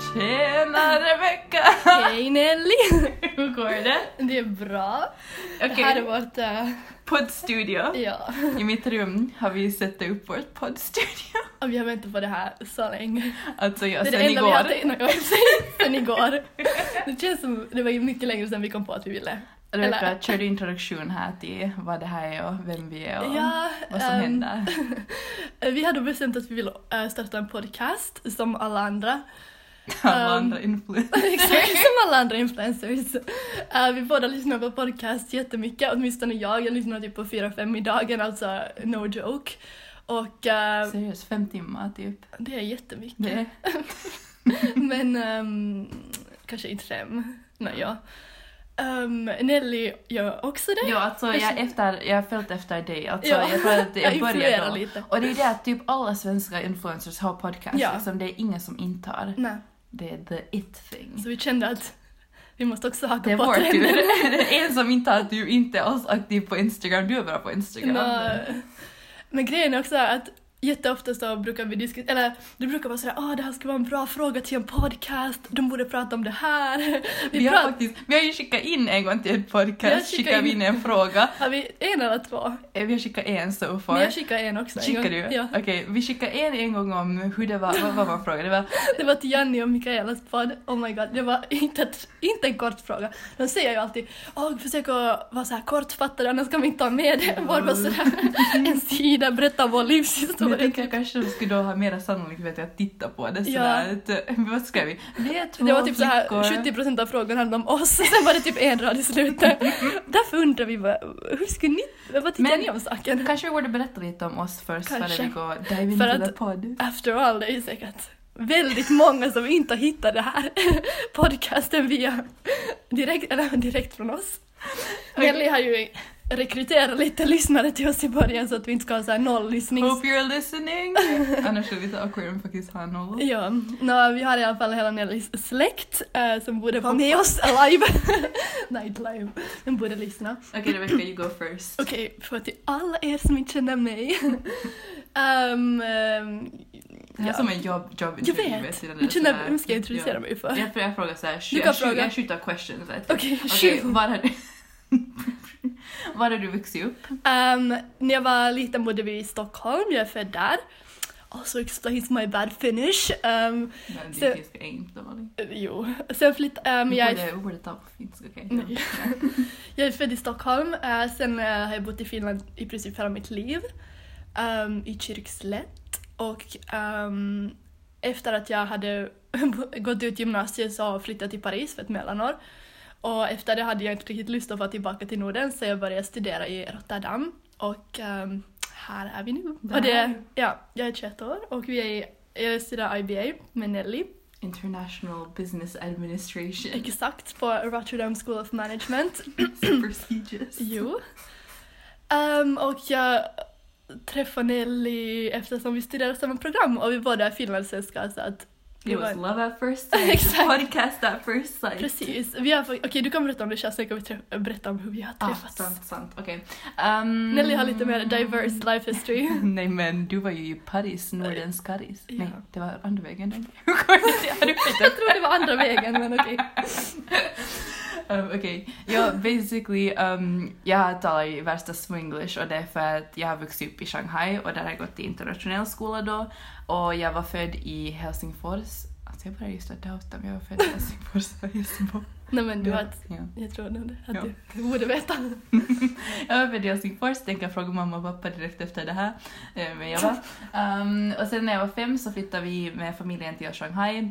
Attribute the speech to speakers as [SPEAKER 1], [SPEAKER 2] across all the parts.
[SPEAKER 1] Tjena Rebecca!
[SPEAKER 2] Hej Nelly!
[SPEAKER 1] Hur går det?
[SPEAKER 2] Det är bra. Det
[SPEAKER 1] Okej,
[SPEAKER 2] här är vårt... eh,
[SPEAKER 1] poddstudio.
[SPEAKER 2] ja.
[SPEAKER 1] I mitt rum har vi satt upp vårt poddstudio.
[SPEAKER 2] Och Vi har väntat på det här så länge.
[SPEAKER 1] Alltså jag
[SPEAKER 2] det är
[SPEAKER 1] sen
[SPEAKER 2] det enda vi har
[SPEAKER 1] igår.
[SPEAKER 2] tänkt någon gång sen- sen igår. Det känns som det var ju mycket längre sedan vi kom på att vi ville.
[SPEAKER 1] Rebecca
[SPEAKER 2] eller-
[SPEAKER 1] körde introduktion här till vad det här är och vem vi är och
[SPEAKER 2] Ja,
[SPEAKER 1] vad som
[SPEAKER 2] ehm,
[SPEAKER 1] händer.
[SPEAKER 2] Vi hade bestämt att vi ville eh, starta en podcast som alla andra.
[SPEAKER 1] Alla
[SPEAKER 2] ehm,
[SPEAKER 1] andra influenser.
[SPEAKER 2] Exakt som alla andra influencers. Eh, vi båda lyssnar på podcast jättemycket, åtminstone jag. Jag lyssnar typ på fyra fem i dagen, alltså no joke. Och eh,
[SPEAKER 1] Seriöst, fem timmar typ.
[SPEAKER 2] det är jättemycket.
[SPEAKER 1] Det är
[SPEAKER 2] Men ehm, kanske inte fem. Nej, ja. Ehm, Nelly gör också det.
[SPEAKER 1] Ja, alltså
[SPEAKER 2] Jag
[SPEAKER 1] jag,
[SPEAKER 2] känner-
[SPEAKER 1] efter, jag har följt efter dig. Alltså,
[SPEAKER 2] Ja.
[SPEAKER 1] Jag tror att jag började
[SPEAKER 2] influerar
[SPEAKER 1] då.
[SPEAKER 2] lite.
[SPEAKER 1] Och det är ju det att typ alla svenska influencers har podcasts.
[SPEAKER 2] Ja.
[SPEAKER 1] Liksom, det är ingen som inte har.
[SPEAKER 2] Nej.
[SPEAKER 1] Det är the it thing.
[SPEAKER 2] Så vi kände att vi måste också
[SPEAKER 1] Det
[SPEAKER 2] haka
[SPEAKER 1] är
[SPEAKER 2] på
[SPEAKER 1] vår tur.
[SPEAKER 2] trenden.
[SPEAKER 1] Det är en som inte har att du inte är alls aktiv på Instagram. Du är bara på Instagram.
[SPEAKER 2] Nå, Men grejen är också att jätteofta så brukar vi diskutera, eller det brukar vara sådär, ah det här skulle vara en bra fråga till en podcast, de borde prata om det här. Vi,
[SPEAKER 1] Vi har,
[SPEAKER 2] pratar,
[SPEAKER 1] faktiskt, vi har ju skickat in en gång till en
[SPEAKER 2] Vi har skickat
[SPEAKER 1] podcast, skickade vi in
[SPEAKER 2] in-
[SPEAKER 1] en fråga.
[SPEAKER 2] har vi en eller två?
[SPEAKER 1] Eh, Vi har skickat en so
[SPEAKER 2] Men
[SPEAKER 1] far.
[SPEAKER 2] jag skickade en också. en
[SPEAKER 1] Skickar
[SPEAKER 2] gång.
[SPEAKER 1] du?
[SPEAKER 2] Ja.
[SPEAKER 1] Okej, vi skickade en en gång om hur det var, vad, vad var frågan? Det var
[SPEAKER 2] Det var till Janni och Mikaelas podd. Oh my god, det var inte, ett, inte en kort fråga. De säger ju alltid oh, försök att vara så här kortfattad annars kan vi inte ha med det.
[SPEAKER 1] Mm.
[SPEAKER 2] Bara vara så här, en sida, berätta vår
[SPEAKER 1] Men jag
[SPEAKER 2] livshistoria.
[SPEAKER 1] tänker jag kanske de skulle då ha mera sannolikhet att titta på det
[SPEAKER 2] Ja.
[SPEAKER 1] sådär. att, eh, Vad ska vi? Vi är två
[SPEAKER 2] Det var typ så här,
[SPEAKER 1] Mm. flickor.
[SPEAKER 2] 70% av frågorna handlade om oss, sen var det typ en rad i slutet. Därför undrar vi vad, hur skulle ni, vad tycker
[SPEAKER 1] Men-
[SPEAKER 2] ni om saken?
[SPEAKER 1] Kanske vi borde berätta lite om oss först
[SPEAKER 2] Kanske.
[SPEAKER 1] före vi går dive into
[SPEAKER 2] För
[SPEAKER 1] the
[SPEAKER 2] att-
[SPEAKER 1] podd.
[SPEAKER 2] After all, det är ju säkert väldigt många som inte har hittat det här podcasten via direkt, eller direkt från oss.
[SPEAKER 1] Okej.
[SPEAKER 2] Nelly har ju rekryterat lite lyssnare till oss i början så att vi inte ska ha så här noll lyssnings...
[SPEAKER 1] Hope you're listening! Annars är vi så awkward om faktiskt har noll.
[SPEAKER 2] Ja, nå, vi har i alla fall hela Nellys släkt eh, som borde vara med oss live. Nej, inte live. De borde lyssna.
[SPEAKER 1] Okej Rebecca, you go first.
[SPEAKER 2] Okej, för till alla er som inte känner mig. um, ehm,
[SPEAKER 1] Det här är
[SPEAKER 2] ja.
[SPEAKER 1] som en jobb, jobb
[SPEAKER 2] Jag vet. Men känner, vem ska jag introducera mig för?
[SPEAKER 1] Jag, jag frågar såhär,
[SPEAKER 2] Du kan
[SPEAKER 1] jag, fråga.
[SPEAKER 2] fråga.
[SPEAKER 1] jag skjuter questions. vet du.
[SPEAKER 2] Okej,
[SPEAKER 1] typ. Okej,
[SPEAKER 2] shoot.
[SPEAKER 1] var har du... var har du vuxit upp?
[SPEAKER 2] Ehm, när jag var liten bodde vi i Stockholm, jag är född där. Also explains my bad finish. Ehm,
[SPEAKER 1] Men
[SPEAKER 2] Så-
[SPEAKER 1] det är finska inte vanligt.
[SPEAKER 2] jo. Sen flyttade um,
[SPEAKER 1] Vi
[SPEAKER 2] jag... Mm.
[SPEAKER 1] borde- vi borde ta på finska, okej?
[SPEAKER 2] Nej. Jag är född i Stockholm, eh, sen eh, har jag bott i Finland i princip hela mitt liv. ehm, I Kyrkslätt. Och ehm, efter att jag hade gått ut gymnasiet så har jag flyttat till Paris för ett mellanår. Och efter det hade jag inte riktigt lust att vara tillbaka till Norden så jag började studera i Rotterdam. Och ehm, här är vi nu.
[SPEAKER 1] Där
[SPEAKER 2] Och
[SPEAKER 1] är vi.
[SPEAKER 2] det, ja, jag är 21 år och vi är, i- jag studerar IBA med Nelly.
[SPEAKER 1] International Business Administration.
[SPEAKER 2] Exakt på Rotterdam School of Management.
[SPEAKER 1] So prestigious.
[SPEAKER 2] Jo. Ehm, och jag träffade Nelly eftersom vi studerade samma program och vi båda är finlandssvenskar så att
[SPEAKER 1] It was love at first sight.
[SPEAKER 2] Exakt.
[SPEAKER 1] Podcast at first sight.
[SPEAKER 2] precis. Vi har fått- Okej, du kan berätta om det sen, sen kan vi trä- berätta om hur vi har
[SPEAKER 1] Ah,
[SPEAKER 2] träffats.
[SPEAKER 1] sant, sant. Okej. Ehm,
[SPEAKER 2] Nelly har lite mer
[SPEAKER 1] Mm.
[SPEAKER 2] diverse life history.
[SPEAKER 1] Nej men du var ju i Paris, Nordens Karis.
[SPEAKER 2] Ja.
[SPEAKER 1] Nej, det var andra vägen. Hur går det? Har du flyttat?
[SPEAKER 2] jag tror det var andra vägen men okej.
[SPEAKER 1] Um, Okej, ja basically, um, jag talar ju värsta swenglish och det är för att jag har vuxit upp i Shanghai och där har jag gått i internationell skola då och jag var född i Helsingfors. Alltså jag börjar just att outa mig, jag var född i Helsingfors och Helsingborg.
[SPEAKER 2] Nej men du har ett-
[SPEAKER 1] Ja.
[SPEAKER 2] jag tror nog det, att
[SPEAKER 1] Ja.
[SPEAKER 2] du, du borde veta.
[SPEAKER 1] Jag var född i Helsingfors, tänkte jag fråga mamma och pappa direkt efter det här. Eh, Men jag var. Ehm, och sen när jag var fem så flyttade vi med familjen till Shanghai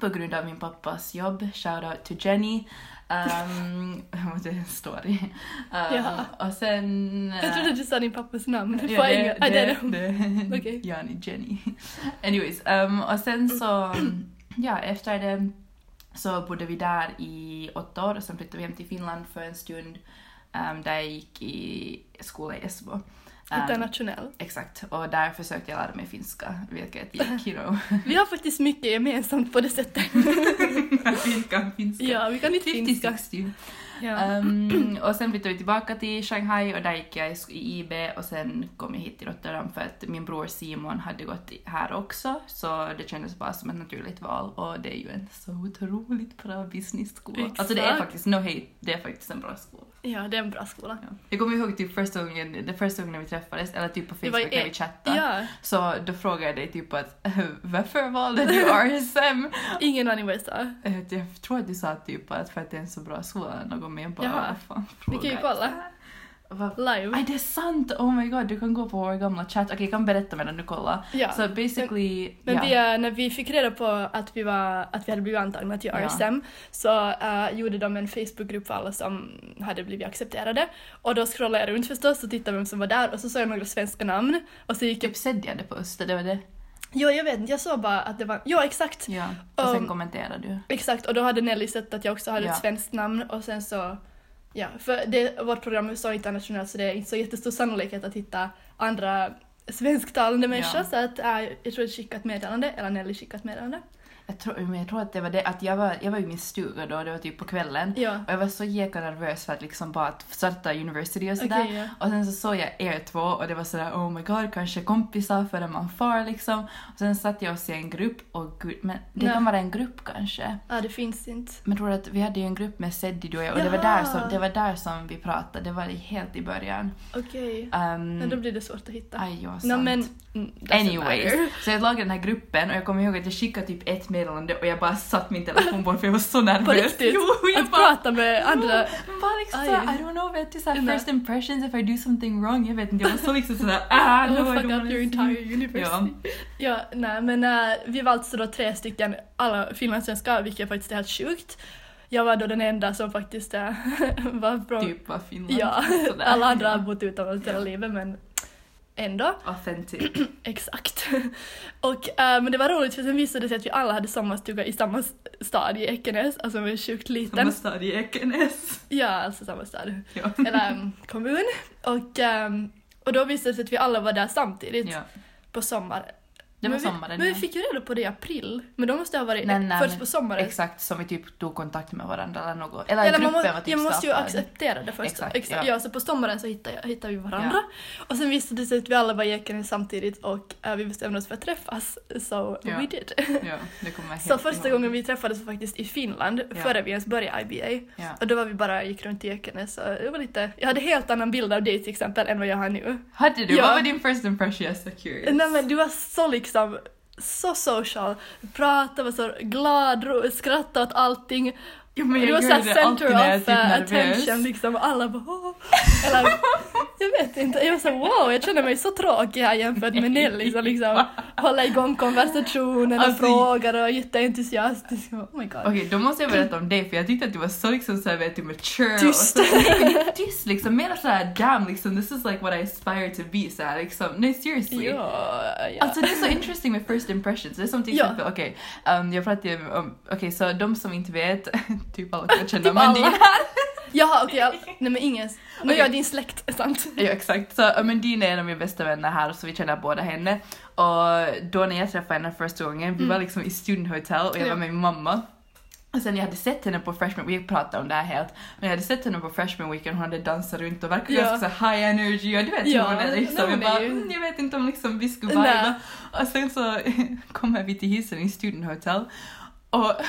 [SPEAKER 1] på grund av min pappas jobb. Shoutout to Jenny. Um, det är en story. Ehm,
[SPEAKER 2] Ja.
[SPEAKER 1] Och sen...
[SPEAKER 2] Jag trodde du sa din pappas namn. Du
[SPEAKER 1] Ja,
[SPEAKER 2] får
[SPEAKER 1] det,
[SPEAKER 2] inga-
[SPEAKER 1] det,
[SPEAKER 2] Ah,
[SPEAKER 1] det,
[SPEAKER 2] där är de. Okej.
[SPEAKER 1] Jani, Jenny. Anyways, ehm, och sen så, ja, efter det så bodde vi där i åtta år och sen flyttade vi hem till Finland för en stund ehm, där jag gick i skola i Esbo. Ehm,
[SPEAKER 2] Internationell.
[SPEAKER 1] Exakt, och där försökte jag lära mig finska, vilket gick, you know.
[SPEAKER 2] Vi har faktiskt mycket gemensamt på det sättet.
[SPEAKER 1] Finska, finska.
[SPEAKER 2] Ja, vi kan inte finska.
[SPEAKER 1] 50-60.
[SPEAKER 2] Ja.
[SPEAKER 1] Ehm, och sen flyttade vi tillbaka till Shanghai och där gick jag i sk- i IB och sen kom jag hit till Rotterdam för att min bror Simon hade gått i- här också så det kändes bara som ett naturligt val och det är ju en så otroligt bra business-skola. Alltså det är
[SPEAKER 2] Exakt.
[SPEAKER 1] faktiskt, no hate, det är faktiskt en bra skola.
[SPEAKER 2] ja, det är en bra skola.
[SPEAKER 1] Ja. Jag kommer ihåg typ första gången, det första gången vi träffades, eller typ på
[SPEAKER 2] Det var
[SPEAKER 1] Facebook
[SPEAKER 2] i-
[SPEAKER 1] när vi chattade,
[SPEAKER 2] Ja,
[SPEAKER 1] så då frågade jag dig typ att varför valde du RSM?
[SPEAKER 2] ingen aning vad jag sa.
[SPEAKER 1] Eh, Jag tror att du sa typ att för att det är en så bra skola, någon mer bara
[SPEAKER 2] Jaha.
[SPEAKER 1] vad fan
[SPEAKER 2] Vi kan ju
[SPEAKER 1] frågar
[SPEAKER 2] kolla.
[SPEAKER 1] jag?" Vad-
[SPEAKER 2] Live.
[SPEAKER 1] Aj, det är sant! Oh my god, du kan gå på vår gamla chatt. Okej, jag kan berätta medan du kollar.
[SPEAKER 2] Ja.
[SPEAKER 1] Så basically...
[SPEAKER 2] Men
[SPEAKER 1] ja.
[SPEAKER 2] vi, eh, när vi fick reda på att vi, var, att vi hade blivit antagna till
[SPEAKER 1] Ja.
[SPEAKER 2] RSM så eh, gjorde de en Facebookgrupp för alla som hade blivit accepterade. Och då scrollade jag runt förstås och tittade vem som var där och så såg jag några svenska namn. Och så gick jag...
[SPEAKER 1] Typ sedjade på Öster, det var det.
[SPEAKER 2] Jo, jag vet inte, jag såg bara att det var... Ja, exakt!
[SPEAKER 1] Ja. Och sen
[SPEAKER 2] Um,
[SPEAKER 1] kommenterade du.
[SPEAKER 2] Exakt, och då hade Nelly sett att jag också hade
[SPEAKER 1] Ja.
[SPEAKER 2] ett svenskt namn och sen så... Ja, för det, vårt program är så internationellt så det är inte så jättestor sannolikhet att hitta andra svensktalande människor
[SPEAKER 1] Ja.
[SPEAKER 2] så att eh, jag tror jag skickade ett meddelande, eller Nelly skickade ett meddelande.
[SPEAKER 1] Jag tror, men jag tror att det var det, att jag var, jag var i min stuga då, det var typ på kvällen.
[SPEAKER 2] Ja.
[SPEAKER 1] Och jag var så jäkla nervös för att liksom bara att starta university och sådär.
[SPEAKER 2] Okej, ja.
[SPEAKER 1] Och sen så såg jag er två och det var sådär oh my god, kanske kompisar före man far liksom. Och sen satte jag oss i en grupp och gud, men det
[SPEAKER 2] Nej.
[SPEAKER 1] kan vara en grupp kanske.
[SPEAKER 2] Ja, det finns inte.
[SPEAKER 1] Men tror du att vi hade ju en grupp med Seddi du och jag och det var,
[SPEAKER 2] Jaha.
[SPEAKER 1] där som, det var där som vi pratade, det var helt i början.
[SPEAKER 2] Okej.
[SPEAKER 1] Um,
[SPEAKER 2] Men då blir det svårt att hitta.
[SPEAKER 1] Aj, ja,
[SPEAKER 2] Nå
[SPEAKER 1] sant.
[SPEAKER 2] men... mm, doesn't
[SPEAKER 1] Anyways,
[SPEAKER 2] matter.
[SPEAKER 1] så jag lagade den här gruppen och jag kommer ihåg att jag skickade typ ett meddelande och jag bara satt min telefon bort för jag var så nervös.
[SPEAKER 2] riktigt?
[SPEAKER 1] Jo, jag
[SPEAKER 2] Att
[SPEAKER 1] bara,
[SPEAKER 2] prata med andra...
[SPEAKER 1] Men bara liksom såhär,
[SPEAKER 2] Aj.
[SPEAKER 1] I don't know, vet du såhär
[SPEAKER 2] Nej.
[SPEAKER 1] first impressions if I do something wrong, jag vet inte, jag var så liksom sådär ah,
[SPEAKER 2] I
[SPEAKER 1] no,
[SPEAKER 2] will
[SPEAKER 1] I
[SPEAKER 2] fuck
[SPEAKER 1] don't
[SPEAKER 2] up
[SPEAKER 1] wanna
[SPEAKER 2] your
[SPEAKER 1] see.
[SPEAKER 2] entire university.
[SPEAKER 1] Ja.
[SPEAKER 2] Ja. nej men eh, vi var alltså då tre stycken, alla finlandssvenskar, vilket faktiskt är helt sjukt. Jag var då den enda som faktiskt eh, var från...
[SPEAKER 1] Typ var Finland. er
[SPEAKER 2] Ja,
[SPEAKER 1] Sådär.
[SPEAKER 2] alla andra har
[SPEAKER 1] Ja.
[SPEAKER 2] bott utomlands hela livet men ändå.
[SPEAKER 1] Authentic.
[SPEAKER 2] Exakt. Och, eh, men det var roligt för sen visade det sig att vi alla hade sommarstuga i samma s- stad i Ekenäs, alltså vi var sjukt liten.
[SPEAKER 1] Samma stad i Ekenäs.
[SPEAKER 2] Ja, alltså samma stad.
[SPEAKER 1] Ja.
[SPEAKER 2] eller mm, kommun. Och, ehm, och då visade det sig att vi alla var där samtidigt
[SPEAKER 1] Ja.
[SPEAKER 2] på sommaren.
[SPEAKER 1] Det var
[SPEAKER 2] men vi,
[SPEAKER 1] sommaren,
[SPEAKER 2] Men vi
[SPEAKER 1] ja.
[SPEAKER 2] fick ju reda på det i april. Men då måste det ha varit
[SPEAKER 1] Nej, nej,
[SPEAKER 2] först
[SPEAKER 1] men-
[SPEAKER 2] på sommaren.
[SPEAKER 1] Exakt, som vi typ tog kontakt med varandra eller något. Eller,
[SPEAKER 2] Eller man,
[SPEAKER 1] gruppen
[SPEAKER 2] må,
[SPEAKER 1] var typ
[SPEAKER 2] jag måste ju
[SPEAKER 1] startad.
[SPEAKER 2] acceptera det först.
[SPEAKER 1] Exakt,
[SPEAKER 2] Exakt,
[SPEAKER 1] ja.
[SPEAKER 2] ja. så på sommaren så hittade, jag, hittade vi varandra. Och sen visade det sig att vi alla var i Ekenäs samtidigt och eh, vi bestämde oss för att träffas. So
[SPEAKER 1] Ja.
[SPEAKER 2] we did.
[SPEAKER 1] Ja, det kommer jag
[SPEAKER 2] Så
[SPEAKER 1] helt
[SPEAKER 2] första
[SPEAKER 1] ihåg.
[SPEAKER 2] gången vi träffades var faktiskt i Finland,
[SPEAKER 1] Ja.
[SPEAKER 2] före vi ens började IBA.
[SPEAKER 1] Ja.
[SPEAKER 2] Och då var vi bara, gick runt i Ekenäs och det var lite, jag hade helt annan bild av dig till exempel än vad jag har nu.
[SPEAKER 1] Hade du?
[SPEAKER 2] Ja.
[SPEAKER 1] Vad var din first impression? Jag är så curious.
[SPEAKER 2] Nej men du var så liksom, så social. Pratade, var så glad, ro- skrattade åt allting.
[SPEAKER 1] Jo, men jag
[SPEAKER 2] du var
[SPEAKER 1] gör
[SPEAKER 2] såhär
[SPEAKER 1] det alltid när jag
[SPEAKER 2] center
[SPEAKER 1] är
[SPEAKER 2] of
[SPEAKER 1] typ
[SPEAKER 2] eh,
[SPEAKER 1] nervös.
[SPEAKER 2] attention liksom och alla bara "Åh." Eller, jag vet inte, jag var såhär wow, jag känner mig så tråkig här jämfört med Nelly som liksom håller igång konversationen och
[SPEAKER 1] Alltså,
[SPEAKER 2] frågar och är jätteentusiastisk. Oh my god.
[SPEAKER 1] Okej, då måste jag berätta om dig för jag tyckte att du var så liksom såhär vet du mature
[SPEAKER 2] Tyst.
[SPEAKER 1] och så, Nej, tyst liksom, mer såhär damn liksom this is like what I aspire to be såhär liksom, nej seriously.
[SPEAKER 2] Ja, ja.
[SPEAKER 1] Alltså det är så interesting med first impressions. Det är som till
[SPEAKER 2] Ja.
[SPEAKER 1] exempel, okej, ehm, jag pratade ju om, okej så de som inte vet, typ alla kan känna
[SPEAKER 2] Typ
[SPEAKER 1] Mandina.
[SPEAKER 2] alla. Jaha okej, all- nej men ingen. Nu
[SPEAKER 1] Okej.
[SPEAKER 2] jag din släkt, sant?
[SPEAKER 1] Ja exakt, så Amandina är en av mina bästa vänner här så vi känner båda henne. Och då när jag träffade henne första gången, vi
[SPEAKER 2] Mm.
[SPEAKER 1] var liksom i student hotel och jag var
[SPEAKER 2] Ja.
[SPEAKER 1] med min mamma. Och sen jag hade sett henne på freshman week, pratade om det här helt, men jag hade sett henne på freshman weekend hon hade dansat runt och verkade
[SPEAKER 2] Ja.
[SPEAKER 1] ganska så high energy och du vet
[SPEAKER 2] Ja,
[SPEAKER 1] hur hon är liksom.
[SPEAKER 2] nej,
[SPEAKER 1] Jag
[SPEAKER 2] hon är
[SPEAKER 1] bara,
[SPEAKER 2] ju-
[SPEAKER 1] mm, jag vet inte om liksom vi skulle
[SPEAKER 2] Nej.
[SPEAKER 1] vibea. Och sen så kommer vi till hissen i student hotel och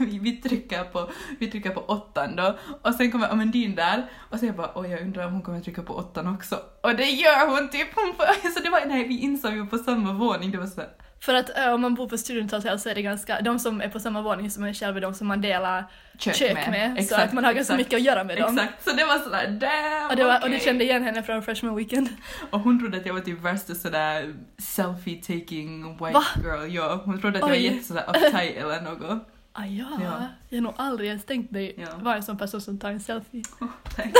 [SPEAKER 1] vi, vi, trycker på, vi trycker på åttan då och sen kommer Amandine där och sen jag bara oj jag undrar om hon kommer trycka på åttan också och det gör hon typ! Hon får, så det var när vi insåg vi var på samma våning, det var så här,
[SPEAKER 2] För att eh, om man bor på studenthotell så är det ganska, de som är på samma våning som en själv är de som man delar kök, med. så att man har ganska mycket att göra med dem.
[SPEAKER 1] Exakt, så det var sådär damn
[SPEAKER 2] Och, det var, och du
[SPEAKER 1] okej."
[SPEAKER 2] kände igen henne från freshman weekend.
[SPEAKER 1] Och hon trodde att jag var typ värsta sådär selfie-taking white
[SPEAKER 2] Va?
[SPEAKER 1] girl, ja. Hon trodde att jag var
[SPEAKER 2] Oj.
[SPEAKER 1] jättesådär uptight eller något.
[SPEAKER 2] Ah, ja.
[SPEAKER 1] Ja.
[SPEAKER 2] jag har nog aldrig ens tänkt mig
[SPEAKER 1] Ja.
[SPEAKER 2] vara en sån person som tar en selfie.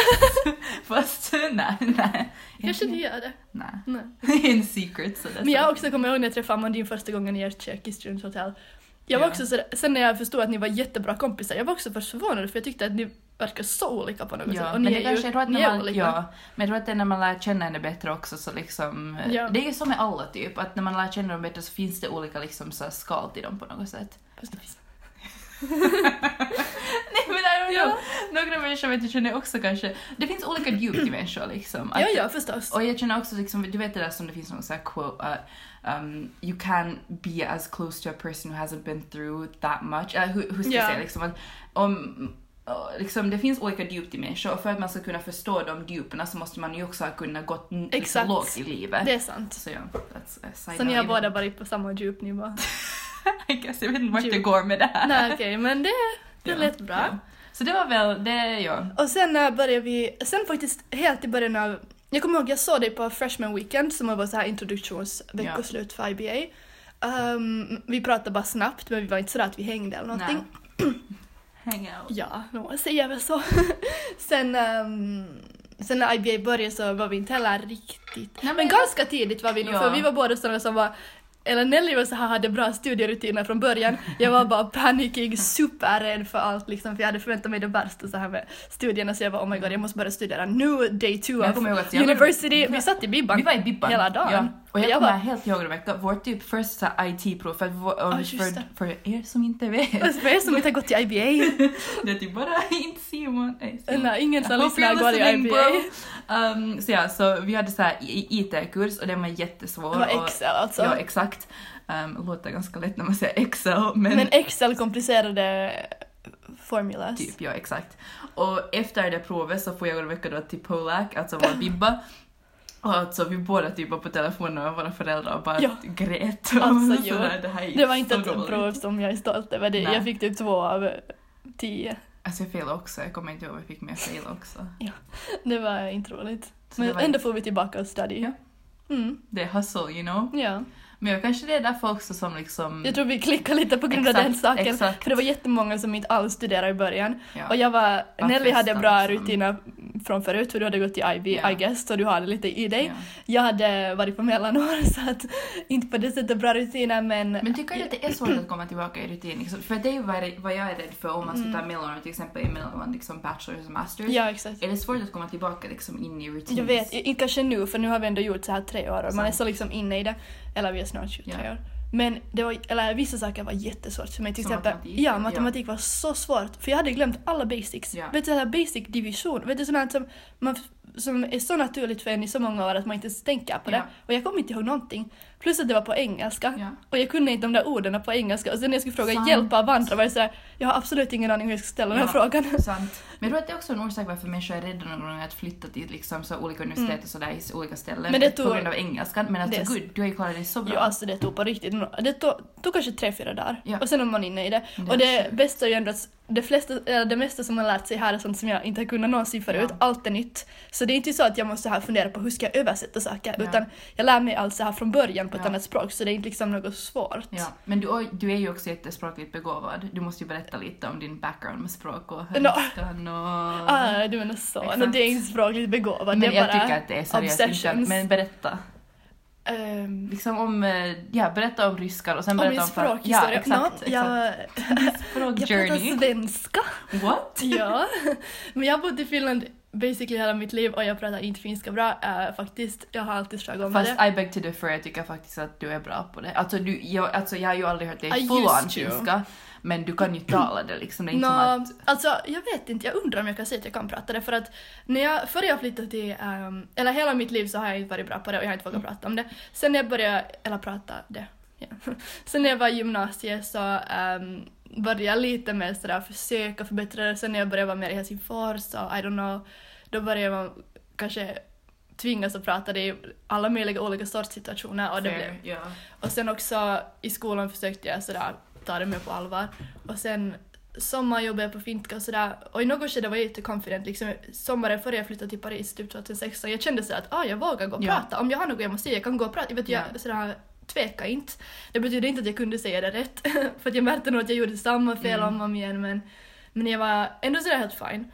[SPEAKER 1] Fast nej, nej.
[SPEAKER 2] Jag kände gör det.
[SPEAKER 1] Nej.
[SPEAKER 2] Nej.
[SPEAKER 1] In secret så det är
[SPEAKER 2] Men
[SPEAKER 1] så.
[SPEAKER 2] jag också kommer ihåg när jag träffade Amandine första gången i ert kök i studenthotell. Jag var
[SPEAKER 1] Ja.
[SPEAKER 2] också sådär, sen när jag förstod att ni var jättebra kompisar, jag var också först förvånad för jag tyckte att ni verkar så olika på något sätt.
[SPEAKER 1] Ja,
[SPEAKER 2] alltså, Och
[SPEAKER 1] men,
[SPEAKER 2] ni
[SPEAKER 1] det
[SPEAKER 2] är ju
[SPEAKER 1] kanske, jag tror att
[SPEAKER 2] ni
[SPEAKER 1] när
[SPEAKER 2] är
[SPEAKER 1] man,
[SPEAKER 2] olika.
[SPEAKER 1] ja, men jag tror att det är när man lär känna henne bättre också så liksom... eh,
[SPEAKER 2] Ja.
[SPEAKER 1] Det är ju som med alla typ, att när man lär känna dem bättre så finns det olika liksom så här skal till dem på något sätt.
[SPEAKER 2] Fast det finns-
[SPEAKER 1] Nej men I don't know.
[SPEAKER 2] Ja.
[SPEAKER 1] Några människor vet jag känner också kanske... Det finns olika djup till människor liksom. Att-
[SPEAKER 2] Ja, ja, förstås.
[SPEAKER 1] Och jag känner också liksom, du vet det där som det finns någon sån här quote att um, you can be as close to a person who hasn't been through that much. Eller hur, hur ska jag
[SPEAKER 2] Ja.
[SPEAKER 1] säga liksom att om och liksom, det finns olika djup i människor och för att man ska kunna förstå de djupen så måste man ju också ha kunnat gått n- liksom
[SPEAKER 2] Exakt.
[SPEAKER 1] lågt i livet.
[SPEAKER 2] Det är sant.
[SPEAKER 1] Så ja, that's a side
[SPEAKER 2] Så ni har
[SPEAKER 1] note.
[SPEAKER 2] båda varit på samma djupnivå?
[SPEAKER 1] I guess, jag vet inte vart
[SPEAKER 2] Djup.
[SPEAKER 1] det går med det här.
[SPEAKER 2] Nej, okej, men det, det
[SPEAKER 1] Ja,
[SPEAKER 2] lät bra.
[SPEAKER 1] ja. Så det var väl, det ja.
[SPEAKER 2] Och sen eh, började vi, sen faktiskt helt i början av, jag kommer ihåg jag såg dig på Freshman Weekend som var så här introduktionsveckoslut för IBA. Ehm, vi pratade bara snabbt men vi var inte sådär att vi hängde eller någonting.
[SPEAKER 1] Hang out.
[SPEAKER 2] Ja, någon säger väl så. sen, ehm, sen när IBA började så var vi inte heller riktigt...
[SPEAKER 1] men
[SPEAKER 2] men
[SPEAKER 1] jag-
[SPEAKER 2] ganska tidigt var vi nog,
[SPEAKER 1] Ja.
[SPEAKER 2] för vi var båda sådana som var... Eller Nelly var så här, hade bra studierutiner från början. Jag var bara panikig, superrädd för allt liksom, för jag hade förväntat mig det värsta så här med studierna så jag var oh my god, jag måste börja studera nu, day two
[SPEAKER 1] Jag
[SPEAKER 2] of
[SPEAKER 1] kommer ihåg att jag var-
[SPEAKER 2] university. Vi satt i bibban.
[SPEAKER 1] Vi var i Bibban.
[SPEAKER 2] Hela dagen.
[SPEAKER 1] Ja. Och jag,
[SPEAKER 2] Jag
[SPEAKER 1] kommer
[SPEAKER 2] var-
[SPEAKER 1] helt ihåg Rebecka, vårt typ första IT-prov, för, att vår-
[SPEAKER 2] Ja, just det.
[SPEAKER 1] för, för er som inte vet,
[SPEAKER 2] Och för er som inte har gått till IBA,
[SPEAKER 1] det är typ bara inte Simon. Nej, Simon.
[SPEAKER 2] nej, ingen som
[SPEAKER 1] I hope
[SPEAKER 2] lyssnar
[SPEAKER 1] you're
[SPEAKER 2] går i
[SPEAKER 1] listening,
[SPEAKER 2] IBA.
[SPEAKER 1] bro. Um, så ja, så vi hade så här i- IT-kurs och den var jättesvår.
[SPEAKER 2] Det var
[SPEAKER 1] och,
[SPEAKER 2] Excel alltså.
[SPEAKER 1] Ja, exakt. Um, låter ganska lätt när man säger Excel, men,
[SPEAKER 2] Men Excel komplicerade formulas.
[SPEAKER 1] typ, ja exakt. Och efter det provet så får jag och Rebecka då till Polak, alltså vår bibba. Och alltså vi båda typ var på telefonen med våra föräldrar och bara
[SPEAKER 2] Ja.
[SPEAKER 1] grät.
[SPEAKER 2] Alltså,
[SPEAKER 1] Och
[SPEAKER 2] jo.
[SPEAKER 1] sådär, det, här är
[SPEAKER 2] Det var inte
[SPEAKER 1] så
[SPEAKER 2] ett
[SPEAKER 1] dåligt.
[SPEAKER 2] prov som jag är stolt över. Det,
[SPEAKER 1] Nej.
[SPEAKER 2] jag fick typ två av tio.
[SPEAKER 1] Alltså jag failade också, jag kommer inte ihåg vad jag fick men jag failade också.
[SPEAKER 2] Det var inte roligt.
[SPEAKER 1] Så det
[SPEAKER 2] Men
[SPEAKER 1] var
[SPEAKER 2] ändå får vi tillbaka och study.
[SPEAKER 1] Ja.
[SPEAKER 2] Mm,
[SPEAKER 1] Det är hustle you know.
[SPEAKER 2] ja.
[SPEAKER 1] Men jag kanske det är därför också som liksom...
[SPEAKER 2] Jag tror vi klickar lite på grund av
[SPEAKER 1] Exakt,
[SPEAKER 2] den saken.
[SPEAKER 1] exakt.
[SPEAKER 2] För det var jättemånga som inte alls studerade i början.
[SPEAKER 1] ja.
[SPEAKER 2] Och jag var,
[SPEAKER 1] Bara
[SPEAKER 2] Nelly hade
[SPEAKER 1] festa,
[SPEAKER 2] bra
[SPEAKER 1] liksom.
[SPEAKER 2] rutiner från förut för du hade gått till IB,
[SPEAKER 1] Ja.
[SPEAKER 2] I guess, så du hade lite i dig.
[SPEAKER 1] Ja.
[SPEAKER 2] Jag hade varit på mellanår så att inte på det sättet bra rutiner men...
[SPEAKER 1] Men tycker du att det är svårt att komma tillbaka i rutin? Liksom? För det är ju vad vad jag är rädd för om man ska
[SPEAKER 2] Mm.
[SPEAKER 1] ta mellanår till exempel mellan man liksom bachelors och masters.
[SPEAKER 2] ja, exakt.
[SPEAKER 1] Är det svårt att komma tillbaka liksom in i rutin?
[SPEAKER 2] Jag vet, i- inte kanske nu för nu har vi ändå gjort så här tre år och man är så liksom inne i det. Eller vi är snart 23
[SPEAKER 1] Ja.
[SPEAKER 2] år. Men det var, eller vissa saker var jättesvårt för mig. Till
[SPEAKER 1] Som
[SPEAKER 2] exempel,
[SPEAKER 1] matematik, ja.
[SPEAKER 2] ja, matematik var så svårt. För jag hade glömt alla basics.
[SPEAKER 1] Ja.
[SPEAKER 2] Vet du, så här basic division. Vet du, sånt här som, man, som är så naturligt för en i så många år att man inte ens tänker på det.
[SPEAKER 1] Ja.
[SPEAKER 2] Och jag kom inte ihåg någonting. Plus att det var på engelska.
[SPEAKER 1] Ja.
[SPEAKER 2] Och jag kunde inte de där orden på engelska. Och sen när jag skulle fråga
[SPEAKER 1] Sant.
[SPEAKER 2] hjälp av andra var jag såhär, jag har absolut ingen aning hur jag ska ställa den här
[SPEAKER 1] Ja.
[SPEAKER 2] frågan.
[SPEAKER 1] Sant. Men jag tror att det är också en orsak varför människor är rädda någon gång att flytta till liksom, så olika universitet och sådär i olika ställen.
[SPEAKER 2] Mm. Men det
[SPEAKER 1] På
[SPEAKER 2] tog-
[SPEAKER 1] grund av engelskan. Men alltså
[SPEAKER 2] Det är s-
[SPEAKER 1] gud, du har ju klarat dig så bra.
[SPEAKER 2] Jo, alltså det tog på riktigt. Det tog, tog kanske tre, fyra dagar.
[SPEAKER 1] Ja.
[SPEAKER 2] Och sen var man inne i det.
[SPEAKER 1] Det är
[SPEAKER 2] och det
[SPEAKER 1] sjukt.
[SPEAKER 2] bästa är ju ändå att det, flesta, eller det mesta som man lärt sig här är sånt som jag inte har kunnat någonsin förut.
[SPEAKER 1] Ja.
[SPEAKER 2] Allt är nytt. Så det är inte så att jag måste här fundera på hur ska jag översätta saker.
[SPEAKER 1] Ja.
[SPEAKER 2] Utan jag lär mig allt så här från början på ett
[SPEAKER 1] Ja.
[SPEAKER 2] annat språk. Så det är inte liksom något svårt.
[SPEAKER 1] Ja, men du, du är ju också jättespråkligt begåvad. Du måste ju berätta lite om din background med språk och
[SPEAKER 2] Nå.
[SPEAKER 1] högskolan och...
[SPEAKER 2] Ah, du menar så.
[SPEAKER 1] Exakt.
[SPEAKER 2] No, det är inte språkligt begåvad.
[SPEAKER 1] men
[SPEAKER 2] det är
[SPEAKER 1] jag
[SPEAKER 2] bara...
[SPEAKER 1] tycker att det är seriöst. inte-
[SPEAKER 2] obsessions.
[SPEAKER 1] Men berätta.
[SPEAKER 2] ehm,
[SPEAKER 1] Liksom om, eh, ja, berätta om ryskar och sen
[SPEAKER 2] om
[SPEAKER 1] berätta
[SPEAKER 2] min
[SPEAKER 1] om... Ja,
[SPEAKER 2] språkhistoria.
[SPEAKER 1] exakt.
[SPEAKER 2] Nå, jag,
[SPEAKER 1] exakt.
[SPEAKER 2] jag pratar
[SPEAKER 1] Språkjourney.
[SPEAKER 2] svenska.
[SPEAKER 1] What?
[SPEAKER 2] Ja, men jag har bott i Finland basically hela mitt liv och jag pratar inte finska bra eh, faktiskt. Jag har alltid struggat med
[SPEAKER 1] Fast
[SPEAKER 2] det.
[SPEAKER 1] I beg to differ, jag tycker faktiskt att du är bra på det. Alltså, du, jag, alltså jag har ju aldrig hört dig
[SPEAKER 2] I used
[SPEAKER 1] full-on
[SPEAKER 2] to.
[SPEAKER 1] finska, men du kan ju tala det liksom. Det är
[SPEAKER 2] Nå,
[SPEAKER 1] inte som att...
[SPEAKER 2] alltså jag vet inte, jag undrar om jag kan säga att jag kan prata det för att när jag, före jag flyttade till, ehm, eller hela mitt liv så har jag inte varit bra på det och jag har inte
[SPEAKER 1] Mm.
[SPEAKER 2] vågat prata om det. Sen när jag började, eller prata det, ja. Sen när jag var i gymnasiet så ehm, började jag lite mer sådär försöka förbättra det. Sen när jag började vara mer i Helsingfors så I don't know, då började man kanske tvingas att prata det i alla möjliga olika sorts situationer och det blev
[SPEAKER 1] Fair, ja.
[SPEAKER 2] Och sen också i skolan försökte jag sådär ta det mer på allvar. Och sen sommarjobbade jag på finska och sådär. Och i något skede var jag jätteconfident. Liksom, sommaren före jag flyttade till Paris, typ 2016, jag kände sådär att ah, jag vågar gå och
[SPEAKER 1] Ja.
[SPEAKER 2] prata. Om jag har något jag måste säga, jag kan gå och prata. Jag, vet, jag
[SPEAKER 1] Ja.
[SPEAKER 2] sådär, tveka inte. Det betyder inte att jag kunde säga det rätt. för att jag märkte nog att jag gjorde samma fel
[SPEAKER 1] Mm.
[SPEAKER 2] om och om igen. Men, men jag var ändå sådär helt fine.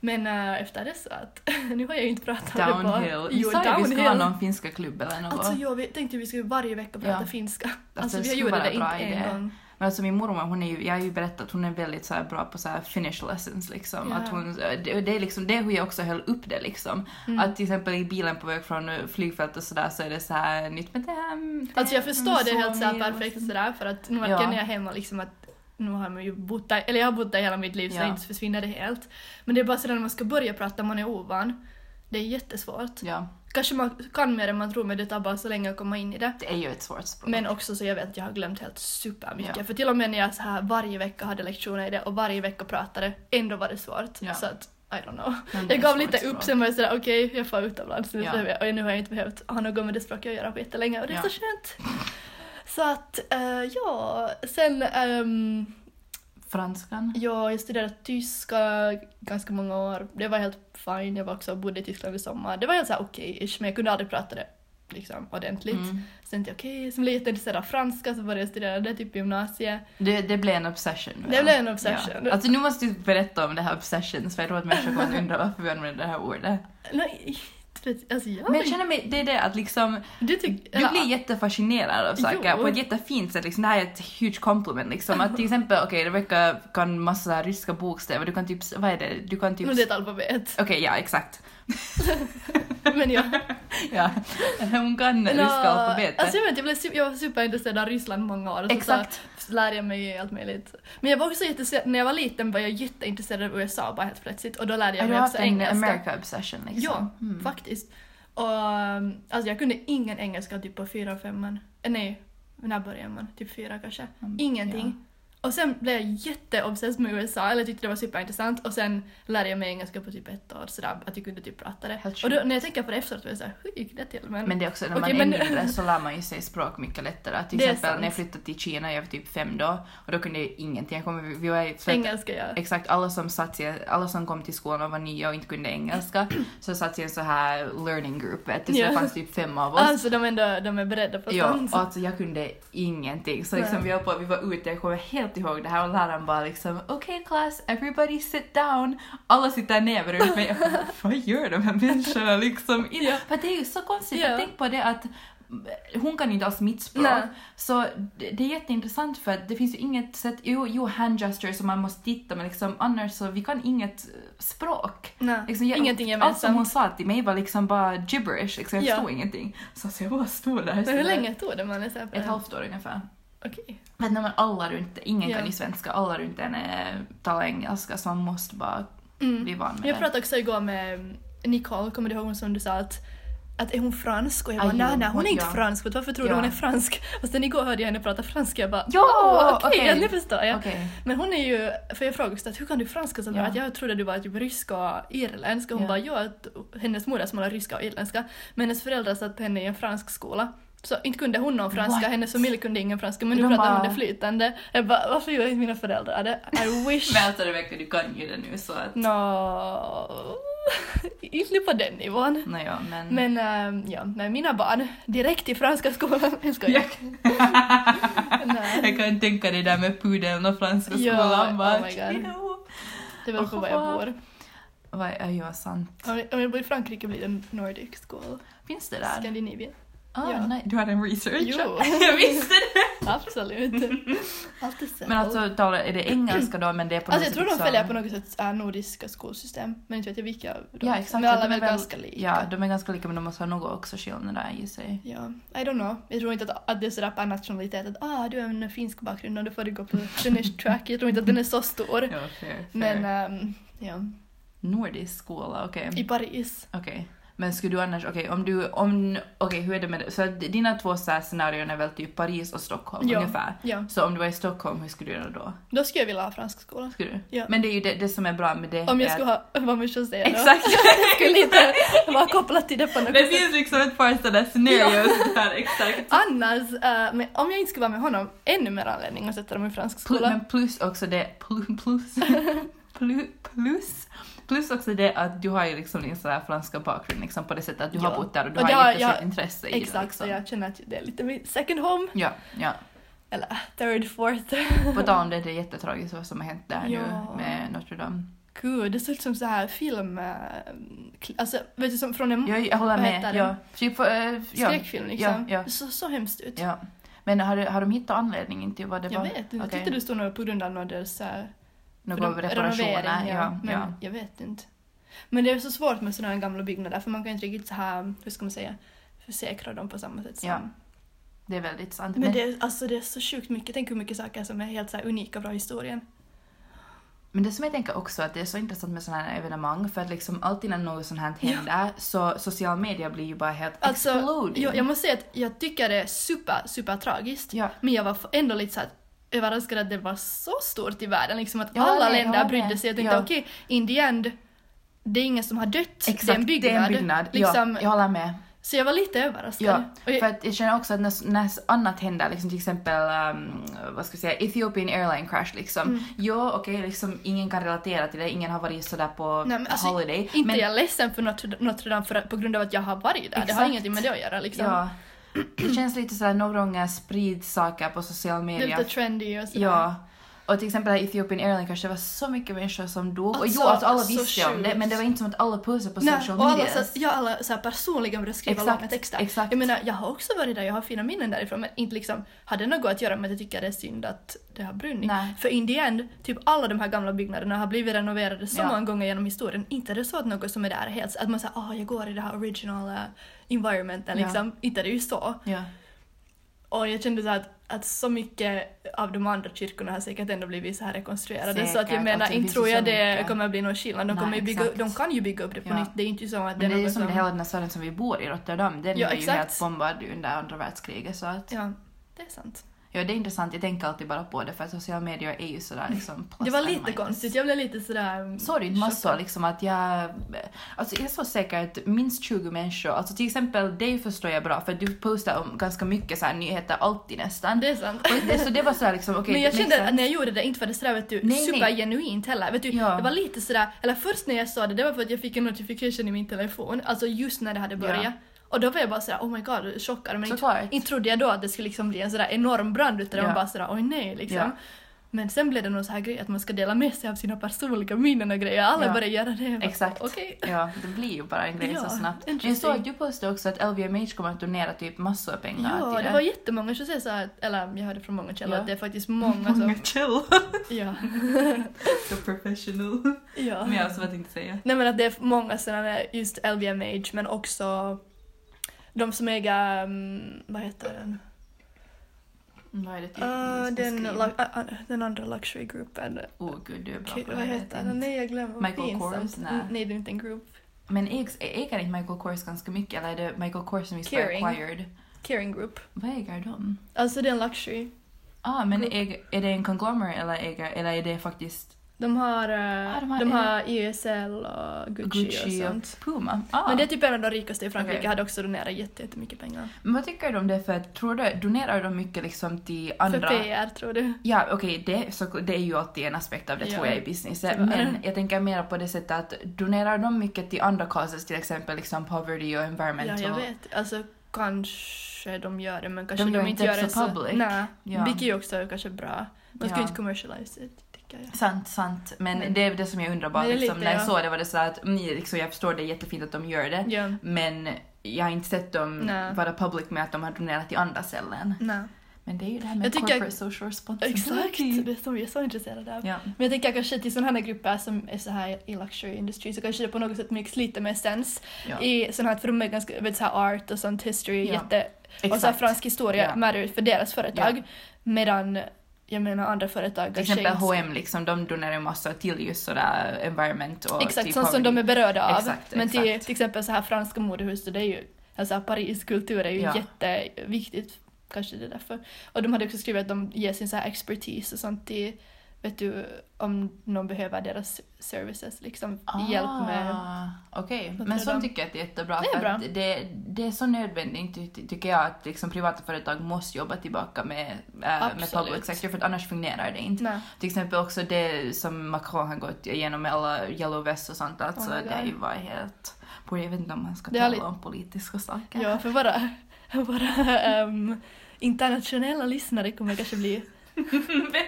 [SPEAKER 2] Men eh, efter det så att nu har jag ju inte pratat om det på...
[SPEAKER 1] Downhill. Vi
[SPEAKER 2] Jo,
[SPEAKER 1] sa ju vi skulle ha
[SPEAKER 2] downhill.
[SPEAKER 1] någon finska klubb eller något.
[SPEAKER 2] Alltså jag vi- tänkte vi skulle varje vecka prata
[SPEAKER 1] Ja.
[SPEAKER 2] finska.
[SPEAKER 1] det
[SPEAKER 2] Alltså vi
[SPEAKER 1] skulle
[SPEAKER 2] gjorde
[SPEAKER 1] vara
[SPEAKER 2] det
[SPEAKER 1] en bra
[SPEAKER 2] inte
[SPEAKER 1] idé.
[SPEAKER 2] en gång.
[SPEAKER 1] Men alltså min mormor, hon är ju, jag har ju berättat att hon är väldigt så här bra på så här finish lessons liksom.
[SPEAKER 2] Ja.
[SPEAKER 1] Att hon, det, det är liksom det är hur jag också höll upp det liksom.
[SPEAKER 2] Mm.
[SPEAKER 1] Att till exempel i bilen på väg från eh, flygfältet och sådär så är det så här nytt med det här.
[SPEAKER 2] Alltså jag förstår det helt så här
[SPEAKER 1] Mm, mer-
[SPEAKER 2] perfekt sådär för att nu
[SPEAKER 1] Ja.
[SPEAKER 2] märker när jag är hemma liksom att nu har man ju bott där, eller jag har bott där hela mitt liv så
[SPEAKER 1] Ja.
[SPEAKER 2] det inte försvinner det helt. Men det är bara sådär när man ska börja prata, man är ovan. Det är jättesvårt.
[SPEAKER 1] Ja,
[SPEAKER 2] Kanske man kan mer än man tror men det tar bara så länge att komma in i det.
[SPEAKER 1] det är ju ett svårt språk.
[SPEAKER 2] Men också så jag vet att jag har glömt helt supermycket.
[SPEAKER 1] Ja.
[SPEAKER 2] För till och med när jag så här varje vecka hade lektioner i det och varje vecka pratade, ändå var det svårt.
[SPEAKER 1] Ja.
[SPEAKER 2] Så att, I don't know.
[SPEAKER 1] Men det är
[SPEAKER 2] Jag
[SPEAKER 1] ett
[SPEAKER 2] gav
[SPEAKER 1] svårt
[SPEAKER 2] lite upp,
[SPEAKER 1] språk.
[SPEAKER 2] sen var jag sådär okej, jag får utomlands nu.
[SPEAKER 1] Ja.
[SPEAKER 2] Ja. Och nu har jag inte behövt ha något med det språket att göra på jättelänge och det är
[SPEAKER 1] Ja.
[SPEAKER 2] så skönt. Så att, eh, ja. Sen, ehm,
[SPEAKER 1] Franskan?
[SPEAKER 2] ja, jag studerade tyska ganska många år. Det var helt fine, jag var också bodde i Tyskland i sommar. Det var helt såhär okej-ish, men jag kunde aldrig prata det liksom ordentligt.
[SPEAKER 1] Mm.
[SPEAKER 2] Sen tänkte jag okej, okay. sen blev jag jätteintresserad av franska så började jag studera det typ i gymnasiet.
[SPEAKER 1] Det, det blev en obsession.
[SPEAKER 2] Det
[SPEAKER 1] ja.
[SPEAKER 2] blev en obsession.
[SPEAKER 1] Ja. Alltså nu måste du berätta om det här obsessions för jag tror att människor kommer att undra varför vi använder det här ordet.
[SPEAKER 2] Nej, inte vet- alltså jag...
[SPEAKER 1] Men jag känner mig, det är det att liksom,
[SPEAKER 2] du tyck, ah,
[SPEAKER 1] du blir jättefascinerad av saker
[SPEAKER 2] Jo.
[SPEAKER 1] på ett jättefint sätt. Liksom, det här är ett huge compliment liksom. Att till exempel, okej Rebecca kan massa så här ryska bokstäver, du kan typ, vad är det, du kan typ...
[SPEAKER 2] Nu det är ett alfabet.
[SPEAKER 1] Okej, ja exakt.
[SPEAKER 2] Men jag...
[SPEAKER 1] Ja. Hon kan
[SPEAKER 2] Nå,
[SPEAKER 1] ryska alfabetet.
[SPEAKER 2] Alltså jag vet, jag, blev, su- jag var superintresserad av Ryssland många år. och så-
[SPEAKER 1] Exakt.
[SPEAKER 2] Så lärde jag mig allt möjligt. Men jag var också jätteintresserad, när jag var liten var jag jätteintresserad av USA bara helt plötsligt. Och då lärde jag
[SPEAKER 1] Har du
[SPEAKER 2] mig
[SPEAKER 1] haft
[SPEAKER 2] också
[SPEAKER 1] en
[SPEAKER 2] engelska.
[SPEAKER 1] America obsession liksom?
[SPEAKER 2] Ja,
[SPEAKER 1] Mm.
[SPEAKER 2] faktiskt. Och, um, alltså jag kunde ingen engelska typ på fyra och femman. Eh, nej, när började man? Typ fyra kanske.
[SPEAKER 1] Mm,
[SPEAKER 2] Ingenting. Och sen blev jag jätteobsess med USA, eller jag tyckte det var superintressant. Och sen lärde jag mig engelska på typ ett år sådär, att jag kunde typ prata det.
[SPEAKER 1] Helt
[SPEAKER 2] Och då,
[SPEAKER 1] sjukt.
[SPEAKER 2] när jag tänker på det efteråt var jag såhär, hur gick det till? Men,
[SPEAKER 1] Men det är också när
[SPEAKER 2] Okej,
[SPEAKER 1] man
[SPEAKER 2] men-
[SPEAKER 1] är mindre så lär man ju sig språk mycket lättare. Till
[SPEAKER 2] Det är
[SPEAKER 1] exempel när jag
[SPEAKER 2] sant.
[SPEAKER 1] flyttade till Kina, jag var typ fem då, och då kunde jag ingenting. Jag kommer, vi var i, för att-
[SPEAKER 2] engelska ja.
[SPEAKER 1] Exakt, alla som, satt i, alla som kom till skolan och var nya och inte kunde engelska så satt i en så här learning group, vet du, så
[SPEAKER 2] Ja.
[SPEAKER 1] det fanns typ fem av oss.
[SPEAKER 2] Alltså de, ändå, de är beredda på
[SPEAKER 1] Ja,
[SPEAKER 2] sånt.
[SPEAKER 1] och alltså jag kunde ingenting. Så liksom
[SPEAKER 2] Nej.
[SPEAKER 1] vi, höll på, vi var ute, jag kommer helt ihåg det här och läraren bara liksom okej class, everybody sit down. Alla sitter ner bredvid mig. Jag bara, Vad gör de här människorna liksom?
[SPEAKER 2] Ja.
[SPEAKER 1] För det är ju så konstigt,
[SPEAKER 2] Ja.
[SPEAKER 1] tänk på det att eh, hon kan inte alls mitt språk.
[SPEAKER 2] Nej.
[SPEAKER 1] Så det det är jätteintressant för att det finns ju inget sätt, jo, jo hand gestures som man måste titta men liksom annars så vi kan inget eh, språk.
[SPEAKER 2] Nej,
[SPEAKER 1] Liksom, jag,
[SPEAKER 2] ingenting
[SPEAKER 1] allt som
[SPEAKER 2] gemensamt.
[SPEAKER 1] hon sa till mig var liksom bara gibberish, liksom, jag
[SPEAKER 2] Ja.
[SPEAKER 1] förstod ingenting. Så, så jag bara stod där.
[SPEAKER 2] Men hur
[SPEAKER 1] så där.
[SPEAKER 2] länge tog det man är såhär på
[SPEAKER 1] Ett halvt år ungefär.
[SPEAKER 2] Okej.
[SPEAKER 1] För att när man alla runt, ingen
[SPEAKER 2] Ja.
[SPEAKER 1] kan ju svenska, alla runt en eh, talar engelska så man måste bara
[SPEAKER 2] Mm.
[SPEAKER 1] bli van med
[SPEAKER 2] Jag
[SPEAKER 1] det.
[SPEAKER 2] pratade också igår med mm, Nicole, kommer du ihåg hon som du sa att att är hon fransk? Och jag
[SPEAKER 1] Ah,
[SPEAKER 2] bara
[SPEAKER 1] jo,
[SPEAKER 2] nej, nej hon är
[SPEAKER 1] hon-
[SPEAKER 2] inte
[SPEAKER 1] ja.
[SPEAKER 2] fransk, vet du, varför tror du
[SPEAKER 1] Ja.
[SPEAKER 2] hon är fransk? Och sen igår hörde jag henne prata franska jag bara
[SPEAKER 1] Ja,
[SPEAKER 2] "Åh, okej,
[SPEAKER 1] okej.
[SPEAKER 2] ja, nu förstår jag.
[SPEAKER 1] Okej.
[SPEAKER 2] Men hon är ju, för jag frågade också att hur kan du franska så bra?
[SPEAKER 1] Ja.
[SPEAKER 2] Att jag trodde du var typ rysk och irländsk och hon
[SPEAKER 1] Ja.
[SPEAKER 2] bara ja, att hennes modersmål är ryska och irländska. Men hennes föräldrar satte henne i en fransk skola. Så inte kunde hon någon franska,
[SPEAKER 1] What?
[SPEAKER 2] hennes familj kunde ingen franska men nu
[SPEAKER 1] De
[SPEAKER 2] pratar hon
[SPEAKER 1] bara-
[SPEAKER 2] det flytande. Jag bara varför gör inte mina föräldrar det? I wish.
[SPEAKER 1] Men alltså Rebecca, du kan ju det nu så att...
[SPEAKER 2] Nå, inte på den nivån.
[SPEAKER 1] Nåja, men...
[SPEAKER 2] Men ehm, ja, med mina barn, direkt till franska skolan. Jag skojar. ehm,
[SPEAKER 1] jag,
[SPEAKER 2] Nej,
[SPEAKER 1] jag kan tänka det där med pudeln och franska
[SPEAKER 2] Ja,
[SPEAKER 1] skolan. bara,
[SPEAKER 2] oh my God.
[SPEAKER 1] "Jo."
[SPEAKER 2] det beror på var jag bor.
[SPEAKER 1] Vad är ja, sant?
[SPEAKER 2] Om jag- Om jag bor i Frankrike blir det en Nordic school.
[SPEAKER 1] Finns det där?
[SPEAKER 2] Skandinavien.
[SPEAKER 1] Ah,
[SPEAKER 2] Ja.
[SPEAKER 1] nej, du hade en research?
[SPEAKER 2] Jo.
[SPEAKER 1] jag visste det!
[SPEAKER 2] Absolut. Allt är settled.
[SPEAKER 1] Men alltså, talar, är det engelska då men det är på
[SPEAKER 2] Alltså jag
[SPEAKER 1] något
[SPEAKER 2] tror
[SPEAKER 1] sätt
[SPEAKER 2] de följer
[SPEAKER 1] liksom-
[SPEAKER 2] på något sätt äh, nordiska skolsystem, men inte vet jag vilka. de-
[SPEAKER 1] Ja, exakt.
[SPEAKER 2] Men alla
[SPEAKER 1] de
[SPEAKER 2] är väl ganska lika.
[SPEAKER 1] Ja, de är ganska lika men de måste ha något också skillnader i sig.
[SPEAKER 2] Ja, I don't know. Jag tror inte att, att det är sådär per nationalitet att ah, du har en finsk bakgrund och då får du gå på Finnish track. Jag tror inte att den är så stor.
[SPEAKER 1] Ja, fair, Mm.
[SPEAKER 2] Men ehm, ja,
[SPEAKER 1] Nordisk skola, okej.
[SPEAKER 2] i Paris.
[SPEAKER 1] Okej. Men skulle du annars, okej om du, om, okej hur är det med det? Så att dina två så här scenarion är väl typ Paris och Stockholm
[SPEAKER 2] Ja.
[SPEAKER 1] ungefär?
[SPEAKER 2] Ja,
[SPEAKER 1] Så om du var i Stockholm, hur skulle du göra då?
[SPEAKER 2] då skulle jag vilja ha fransk skola.
[SPEAKER 1] Skulle du?
[SPEAKER 2] Ja.
[SPEAKER 1] Men det är ju det, det som är bra med det.
[SPEAKER 2] Om
[SPEAKER 1] är
[SPEAKER 2] jag
[SPEAKER 1] att-
[SPEAKER 2] skulle ha vad man skulle säga då.
[SPEAKER 1] Exakt!
[SPEAKER 2] Jag skulle inte vara kopplat till det på något
[SPEAKER 1] det
[SPEAKER 2] sätt.
[SPEAKER 1] finns liksom ett par sådana scenarios där, exakt.
[SPEAKER 2] Annars, eh, men om jag inte skulle vara med honom, ännu mer anledning att sätta dem i fransk
[SPEAKER 1] Plus,
[SPEAKER 2] skola.
[SPEAKER 1] men plus också det, plus, plus, plus, plus, plus också det att du har ju liksom din sådär franska bakgrund liksom på det sättet att du
[SPEAKER 2] Ja.
[SPEAKER 1] har bott där och du
[SPEAKER 2] Och det
[SPEAKER 1] har
[SPEAKER 2] har-
[SPEAKER 1] jättestort
[SPEAKER 2] jag-
[SPEAKER 1] intresse i det.
[SPEAKER 2] Exakt, så
[SPEAKER 1] Liksom.
[SPEAKER 2] jag känner att det är lite min second home.
[SPEAKER 1] Ja, ja.
[SPEAKER 2] Eller äh, third, fourth.
[SPEAKER 1] På tal om det, det är jättetragiskt vad som har hänt där
[SPEAKER 2] Ja.
[SPEAKER 1] nu med Notre Dame.
[SPEAKER 2] Gud, det ser ut som så här film... eh, kli- Alltså, vet du, som från en
[SPEAKER 1] Jag, jag håller
[SPEAKER 2] Vad heter
[SPEAKER 1] med.
[SPEAKER 2] den?
[SPEAKER 1] Ja. Typ, äh, ja.
[SPEAKER 2] skräckfilm liksom.
[SPEAKER 1] ja.
[SPEAKER 2] Det såg så hemskt ut.
[SPEAKER 1] ja. Men har, har de hittat anledningen till vad det
[SPEAKER 2] Jag
[SPEAKER 1] var?
[SPEAKER 2] vet inte, jag
[SPEAKER 1] Okej.
[SPEAKER 2] tyckte det stod något på grund av någon deras så här-
[SPEAKER 1] Några
[SPEAKER 2] för de-
[SPEAKER 1] reparationer?
[SPEAKER 2] renovering,
[SPEAKER 1] Ja,
[SPEAKER 2] men
[SPEAKER 1] ja.
[SPEAKER 2] Jag vet inte. Men det är så svårt med sådana här gamla byggnader för man kan inte riktigt så här, hur ska man säga, försäkra dem på samma sätt som
[SPEAKER 1] Ja. Det är väldigt sant.
[SPEAKER 2] Men det, är- alltså, det är så sjukt mycket. Tänk hur mycket saker som är helt så här unika bra i historien.
[SPEAKER 1] Men det som jag tänker också att det är så intressant med sådana här evenemang för att liksom alltid när något sånt här händer så social media blir ju bara helt
[SPEAKER 2] Alltså,
[SPEAKER 1] exploding.
[SPEAKER 2] jag, jag måste säga att jag tycker det är super, super tragiskt.
[SPEAKER 1] Ja.
[SPEAKER 2] Men jag var f- ändå lite så här överraskad att det var så stort i världen. Liksom att
[SPEAKER 1] Ja,
[SPEAKER 2] alla
[SPEAKER 1] nej, jag
[SPEAKER 2] länder
[SPEAKER 1] håller
[SPEAKER 2] brydde
[SPEAKER 1] med.
[SPEAKER 2] sig. Jag tänkte
[SPEAKER 1] Ja.
[SPEAKER 2] okej, in the end, det är ingen som har dött.
[SPEAKER 1] Exakt,
[SPEAKER 2] det är en byggnad. liksom.
[SPEAKER 1] ja, jag håller med.
[SPEAKER 2] Så jag var lite överraskad.
[SPEAKER 1] Ja,
[SPEAKER 2] Och jag,
[SPEAKER 1] för att jag känner också att när, när annat händer, liksom till exempel um, vad ska jag säga, Ethiopian Airline Crash liksom.
[SPEAKER 2] Mm.
[SPEAKER 1] Jo, okej, liksom ingen kan relatera till det, ingen har varit sådär på
[SPEAKER 2] nej, men alltså,
[SPEAKER 1] holiday.
[SPEAKER 2] Inte jag är ledsen för Notre, Notre Dame för, att- på grund av att jag har varit där. Det har
[SPEAKER 1] Exakt.
[SPEAKER 2] ingenting med det att göra. Liksom.
[SPEAKER 1] ja, det känns lite sådär några gånger sprids saker på social
[SPEAKER 2] Det är
[SPEAKER 1] media.
[SPEAKER 2] lite trendy och sådär.
[SPEAKER 1] Ja. Och till exempel här Ethiopian Airline kanske det var så mycket människor som dog. och
[SPEAKER 2] Alltså,
[SPEAKER 1] jo, alltså alla
[SPEAKER 2] så
[SPEAKER 1] visste om det,
[SPEAKER 2] sjukt.
[SPEAKER 1] men det var inte som att alla pussade på
[SPEAKER 2] Nej,
[SPEAKER 1] social
[SPEAKER 2] och
[SPEAKER 1] media.
[SPEAKER 2] alla, så, ja, alla så här personligen började skriva
[SPEAKER 1] Exakt,
[SPEAKER 2] långa texter.
[SPEAKER 1] exakt.
[SPEAKER 2] Jag menar, jag har också varit där, jag har fina minnen därifrån men inte liksom, hade något att göra med att jag tycker det är synd att det har brunnit.
[SPEAKER 1] Nej.
[SPEAKER 2] För in the end, typ alla de här gamla byggnaderna har blivit renoverade så
[SPEAKER 1] Ja.
[SPEAKER 2] många gånger genom historien. Inte är det så att något som är där är helt, så- att man säger ah jag går i det här original eh, environmenten
[SPEAKER 1] Ja.
[SPEAKER 2] liksom. Inte är det ju så.
[SPEAKER 1] Ja.
[SPEAKER 2] Och jag kände så här att, att så mycket av de andra kyrkorna har säkert ändå blivit så här rekonstruerade så att
[SPEAKER 1] Säkert,
[SPEAKER 2] jag menar,
[SPEAKER 1] alltså, det
[SPEAKER 2] inte
[SPEAKER 1] finns
[SPEAKER 2] tror
[SPEAKER 1] ju
[SPEAKER 2] jag
[SPEAKER 1] så
[SPEAKER 2] det
[SPEAKER 1] mycket.
[SPEAKER 2] kommer bli någon skillnad. De,
[SPEAKER 1] Nej,
[SPEAKER 2] kommer ju bygga,
[SPEAKER 1] exakt.
[SPEAKER 2] de kan ju bygga upp det på
[SPEAKER 1] Ja.
[SPEAKER 2] nytt. Det är inte ju så att det
[SPEAKER 1] Men det
[SPEAKER 2] är
[SPEAKER 1] är ju
[SPEAKER 2] något
[SPEAKER 1] som
[SPEAKER 2] som...
[SPEAKER 1] den hela den här staden som vi bor i, Rotterdam, den
[SPEAKER 2] Ja,
[SPEAKER 1] är ju
[SPEAKER 2] exakt.
[SPEAKER 1] helt bombad under andra världskriget. Så att, ja.
[SPEAKER 2] Ja, det är sant.
[SPEAKER 1] det är intressant, jag tänker alltid bara på det för att sociala medier är ju sådär liksom plus
[SPEAKER 2] Det var
[SPEAKER 1] and
[SPEAKER 2] lite
[SPEAKER 1] minus.
[SPEAKER 2] konstigt, jag blev lite sådär...
[SPEAKER 1] Såg du inte massor liksom att jag... Alltså jag såg säkert minst 20 människor. Alltså till exempel dig förstår jag bra för du postar om ganska mycket så här nyheter alltid nästan.
[SPEAKER 2] Det är sant.
[SPEAKER 1] Och det, så det var så här liksom, okej...
[SPEAKER 2] men jag
[SPEAKER 1] det makes
[SPEAKER 2] kände att
[SPEAKER 1] sense.
[SPEAKER 2] när jag gjorde det, inte var det sådär vet du,
[SPEAKER 1] Nej, nej.
[SPEAKER 2] supergenuint heller. Vet du,
[SPEAKER 1] Ja.
[SPEAKER 2] Det var lite sådär, eller först när jag sa det, det var för att jag fick en notification i min telefon, alltså just när det hade börjat.
[SPEAKER 1] Ja.
[SPEAKER 2] Och då var jag bara sådär oh my god, chockad. Men inte,
[SPEAKER 1] Såklart.
[SPEAKER 2] inte trodde jag då att det skulle liksom bli en sådär enorm brand utan det var
[SPEAKER 1] Ja.
[SPEAKER 2] bara sådär oj nej liksom.
[SPEAKER 1] Ja.
[SPEAKER 2] Men sen blev det någon så här grej att man ska dela med sig av sina personliga minnen och grejer. Alla
[SPEAKER 1] Ja.
[SPEAKER 2] började göra det. Jag bara,
[SPEAKER 1] Exakt.
[SPEAKER 2] Okej.
[SPEAKER 1] Ja, det blir ju bara en grej
[SPEAKER 2] Ja,
[SPEAKER 1] så snabbt. Men jag
[SPEAKER 2] interesting.
[SPEAKER 1] såg att du postade också att LVMH kommer att donera typ massor av pengar
[SPEAKER 2] Ja,
[SPEAKER 1] till
[SPEAKER 2] det var jättemånga som säger så här, eller jag hörde från många källor
[SPEAKER 1] Ja.
[SPEAKER 2] att det är faktiskt många som...
[SPEAKER 1] källor.
[SPEAKER 2] ja.
[SPEAKER 1] Så professional.
[SPEAKER 2] ja.
[SPEAKER 1] Men alltså vad tänkte jag säga?
[SPEAKER 2] Nej men att det är många sådana just LVMH men också de som äger, mm, vad heter den?
[SPEAKER 1] Vad är det typ?
[SPEAKER 2] Ah, den,
[SPEAKER 1] Beskriv.
[SPEAKER 2] lu- ah, ah, den andra luxurygruppen.
[SPEAKER 1] Åh gud, du är bra
[SPEAKER 2] Okej,
[SPEAKER 1] på det.
[SPEAKER 2] Vad
[SPEAKER 1] jag vet
[SPEAKER 2] heter
[SPEAKER 1] inte.
[SPEAKER 2] den? Nej jag glömmer.
[SPEAKER 1] Michael
[SPEAKER 2] Pinsamt.
[SPEAKER 1] Kors? Nej.
[SPEAKER 2] Mm, Nej det är inte en grupp.
[SPEAKER 1] Men ägs- äger inte Michael Kors ganska mycket? Eller är det Michael Kors som visst var
[SPEAKER 2] Kering.
[SPEAKER 1] acquired?
[SPEAKER 2] Caring Group.
[SPEAKER 1] Vad äger de?
[SPEAKER 2] Alltså det är en luxury.
[SPEAKER 1] Ah, men
[SPEAKER 2] Group.
[SPEAKER 1] äger, är det en conglomerate eller, äger, eller är det faktiskt
[SPEAKER 2] De har, eh,
[SPEAKER 1] Ah, de
[SPEAKER 2] de
[SPEAKER 1] har-
[SPEAKER 2] har, de har ESL och Gucci,
[SPEAKER 1] Gucci
[SPEAKER 2] och
[SPEAKER 1] och
[SPEAKER 2] sånt.
[SPEAKER 1] Puma? Ah.
[SPEAKER 2] Men det är typ en av de rikaste i Frankrike,
[SPEAKER 1] Okej.
[SPEAKER 2] hade också donerat jätte- jättemycket pengar.
[SPEAKER 1] Men vad tycker du om det? För att, tror du, donerar de mycket liksom till andra?
[SPEAKER 2] För PR tror du?
[SPEAKER 1] Ja, okej, det, så- det är ju alltid en aspekt av det tror
[SPEAKER 2] Ja.
[SPEAKER 1] jag i business.
[SPEAKER 2] Tyvärr.
[SPEAKER 1] Men jag tänker mer på det sättet att donerar de mycket till andra causes, till exempel liksom poverty och environmental?
[SPEAKER 2] Ja, jag vet. Alltså kanske de gör det men kanske
[SPEAKER 1] De
[SPEAKER 2] de,
[SPEAKER 1] gör
[SPEAKER 2] inte
[SPEAKER 1] inte
[SPEAKER 2] gör
[SPEAKER 1] det
[SPEAKER 2] det
[SPEAKER 1] så public.
[SPEAKER 2] Nej,
[SPEAKER 1] Ja.
[SPEAKER 2] vilket ju också är kanske bra. Man ska ju
[SPEAKER 1] Ja.
[SPEAKER 2] inte commercialize det tycker jag.
[SPEAKER 1] Sant, sant. Men,
[SPEAKER 2] Men-
[SPEAKER 1] det är det som jag undrar bara
[SPEAKER 2] Men det är
[SPEAKER 1] liksom,
[SPEAKER 2] lite,
[SPEAKER 1] när jag
[SPEAKER 2] ja.
[SPEAKER 1] såg det var det så här att mm, liksom, jag förstår det är jättefint att de gör det.
[SPEAKER 2] Ja.
[SPEAKER 1] Men jag har inte sett dem
[SPEAKER 2] Nej.
[SPEAKER 1] vara public med att de har donerat till andra ställen.
[SPEAKER 2] Nej.
[SPEAKER 1] Men det är ju det här med
[SPEAKER 2] Jag tycker-
[SPEAKER 1] corporate social
[SPEAKER 2] Exakt,
[SPEAKER 1] responsibility.
[SPEAKER 2] det är så, jag är så intresserad av.
[SPEAKER 1] Ja.
[SPEAKER 2] Men jag tänker kanske till sådana här grupper som är så här i luxury industry så kanske det på något sätt mix lite med sens
[SPEAKER 1] Ja.
[SPEAKER 2] i sådana här, för de är ganska, vet, så här art och sånt history,
[SPEAKER 1] Ja.
[SPEAKER 2] jätte, och så här
[SPEAKER 1] Exakt.
[SPEAKER 2] fransk historia
[SPEAKER 1] Ja.
[SPEAKER 2] matter för deras företag. Medan jag menar andra företag
[SPEAKER 1] Till
[SPEAKER 2] kanske
[SPEAKER 1] exempel
[SPEAKER 2] inte-
[SPEAKER 1] H&M liksom, de donerar ju massor till just sådär environment och
[SPEAKER 2] Exakt,
[SPEAKER 1] typ
[SPEAKER 2] sånt som
[SPEAKER 1] poverty.
[SPEAKER 2] de är berörda av.
[SPEAKER 1] Exakt,
[SPEAKER 2] Men till,
[SPEAKER 1] exakt.
[SPEAKER 2] till exempel så här franska modehus, det är ju, alltså Paris kultur är ju
[SPEAKER 1] Ja.
[SPEAKER 2] jätteviktigt. Kanske det är därför. Och de hade också skrivit att de ger sin så här expertis och sånt till, vet du, om någon behöver deras services, liksom hjälp med.
[SPEAKER 1] Ah, Okej,
[SPEAKER 2] Vad
[SPEAKER 1] men
[SPEAKER 2] tror
[SPEAKER 1] sånt
[SPEAKER 2] du?
[SPEAKER 1] tycker jag att det är jättebra.
[SPEAKER 2] Det är
[SPEAKER 1] för
[SPEAKER 2] bra.
[SPEAKER 1] Att det, det är så nödvändigt ty- ty- tycker jag att liksom privata företag måste jobba tillbaka med, äh, med
[SPEAKER 2] Absolut.
[SPEAKER 1] public sector för att annars fungerar det inte.
[SPEAKER 2] Nej.
[SPEAKER 1] Till exempel också det som Macron har gått igenom med alla yellow vests och sånt. Alltså
[SPEAKER 2] Oh my
[SPEAKER 1] det är
[SPEAKER 2] God.
[SPEAKER 1] ju bara helt... Borde jag vet inte om han ska
[SPEAKER 2] Det är
[SPEAKER 1] tala
[SPEAKER 2] lite-
[SPEAKER 1] om politiska saker.
[SPEAKER 2] Ja, för våra, våra um, internationella lyssnare kommer kanske bli...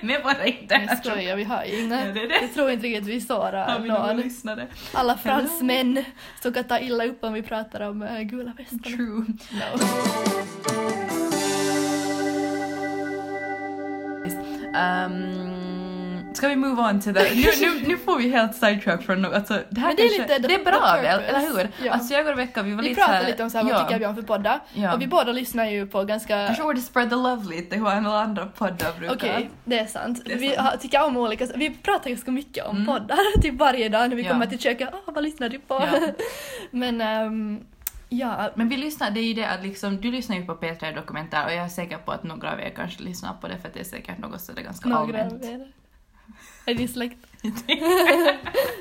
[SPEAKER 1] Vem är våra
[SPEAKER 2] Jag
[SPEAKER 1] internationella
[SPEAKER 2] skojar, vi har ju inga.
[SPEAKER 1] Ja, det är det.
[SPEAKER 2] Jag tror inte riktigt vi sårar
[SPEAKER 1] någon
[SPEAKER 2] någon.
[SPEAKER 1] lyssnare?
[SPEAKER 2] Alla fransmän som kan ta illa upp om vi pratar om eh, gula västarna.
[SPEAKER 1] True.
[SPEAKER 2] No.
[SPEAKER 1] Ehm, Ska vi move on till det? Nu, nu, nu får vi helt sidetrack från något. Alltså, det här
[SPEAKER 2] Men det är
[SPEAKER 1] kanske,
[SPEAKER 2] lite
[SPEAKER 1] det är
[SPEAKER 2] the
[SPEAKER 1] bra
[SPEAKER 2] purpose.
[SPEAKER 1] väl, eller hur?
[SPEAKER 2] Ja.
[SPEAKER 1] Alltså jag går och Rebecca, vi var
[SPEAKER 2] Vi
[SPEAKER 1] lite
[SPEAKER 2] pratade lite om så här, vad
[SPEAKER 1] ja,
[SPEAKER 2] tycker vi om för poddar?
[SPEAKER 1] Ja.
[SPEAKER 2] Och vi båda lyssnar ju på ganska...
[SPEAKER 1] Kanske borde spread the love lite, hur alla andra poddar brukar.
[SPEAKER 2] Okej, det är sant.
[SPEAKER 1] Det är
[SPEAKER 2] vi
[SPEAKER 1] sant.
[SPEAKER 2] har- tycker om olika Vi pratar ganska mycket om
[SPEAKER 1] Mm.
[SPEAKER 2] poddar, typ varje dag när vi
[SPEAKER 1] Ja.
[SPEAKER 2] kommer till köket. Åh, vad lyssnar du på?
[SPEAKER 1] Ja.
[SPEAKER 2] Men ehm, ja,
[SPEAKER 1] Men vi lyssnar, det är ju det att liksom, du lyssnar ju på P3 Dokumentär och jag är säker på att några av er kanske lyssnar på det för att det är säkert något som är ganska
[SPEAKER 2] några
[SPEAKER 1] allmänt.
[SPEAKER 2] av er. Är din släkt?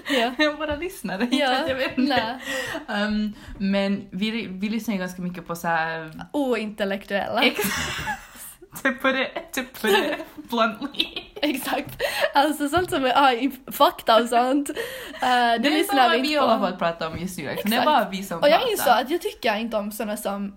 [SPEAKER 2] ja.
[SPEAKER 1] Våra lyssnare, inte
[SPEAKER 2] ja.
[SPEAKER 1] att jag vet inte.
[SPEAKER 2] Nej.
[SPEAKER 1] Ehm, men vi, vi lyssnar ju ganska mycket på så här
[SPEAKER 2] Ointellektuella.
[SPEAKER 1] Typ på det, typ på det, bluntly.
[SPEAKER 2] Exakt. Alltså sånt som är ah, i- fakta och sånt. eh, det,
[SPEAKER 1] Det, är som
[SPEAKER 2] lyssnar
[SPEAKER 1] vad
[SPEAKER 2] vi
[SPEAKER 1] vi
[SPEAKER 2] inte
[SPEAKER 1] håller på
[SPEAKER 2] på.
[SPEAKER 1] att prata om just nu. Liksom. Det är
[SPEAKER 2] Exakt.
[SPEAKER 1] bara vi som
[SPEAKER 2] Och jag
[SPEAKER 1] pratar.
[SPEAKER 2] insåg att jag tycker inte om såna som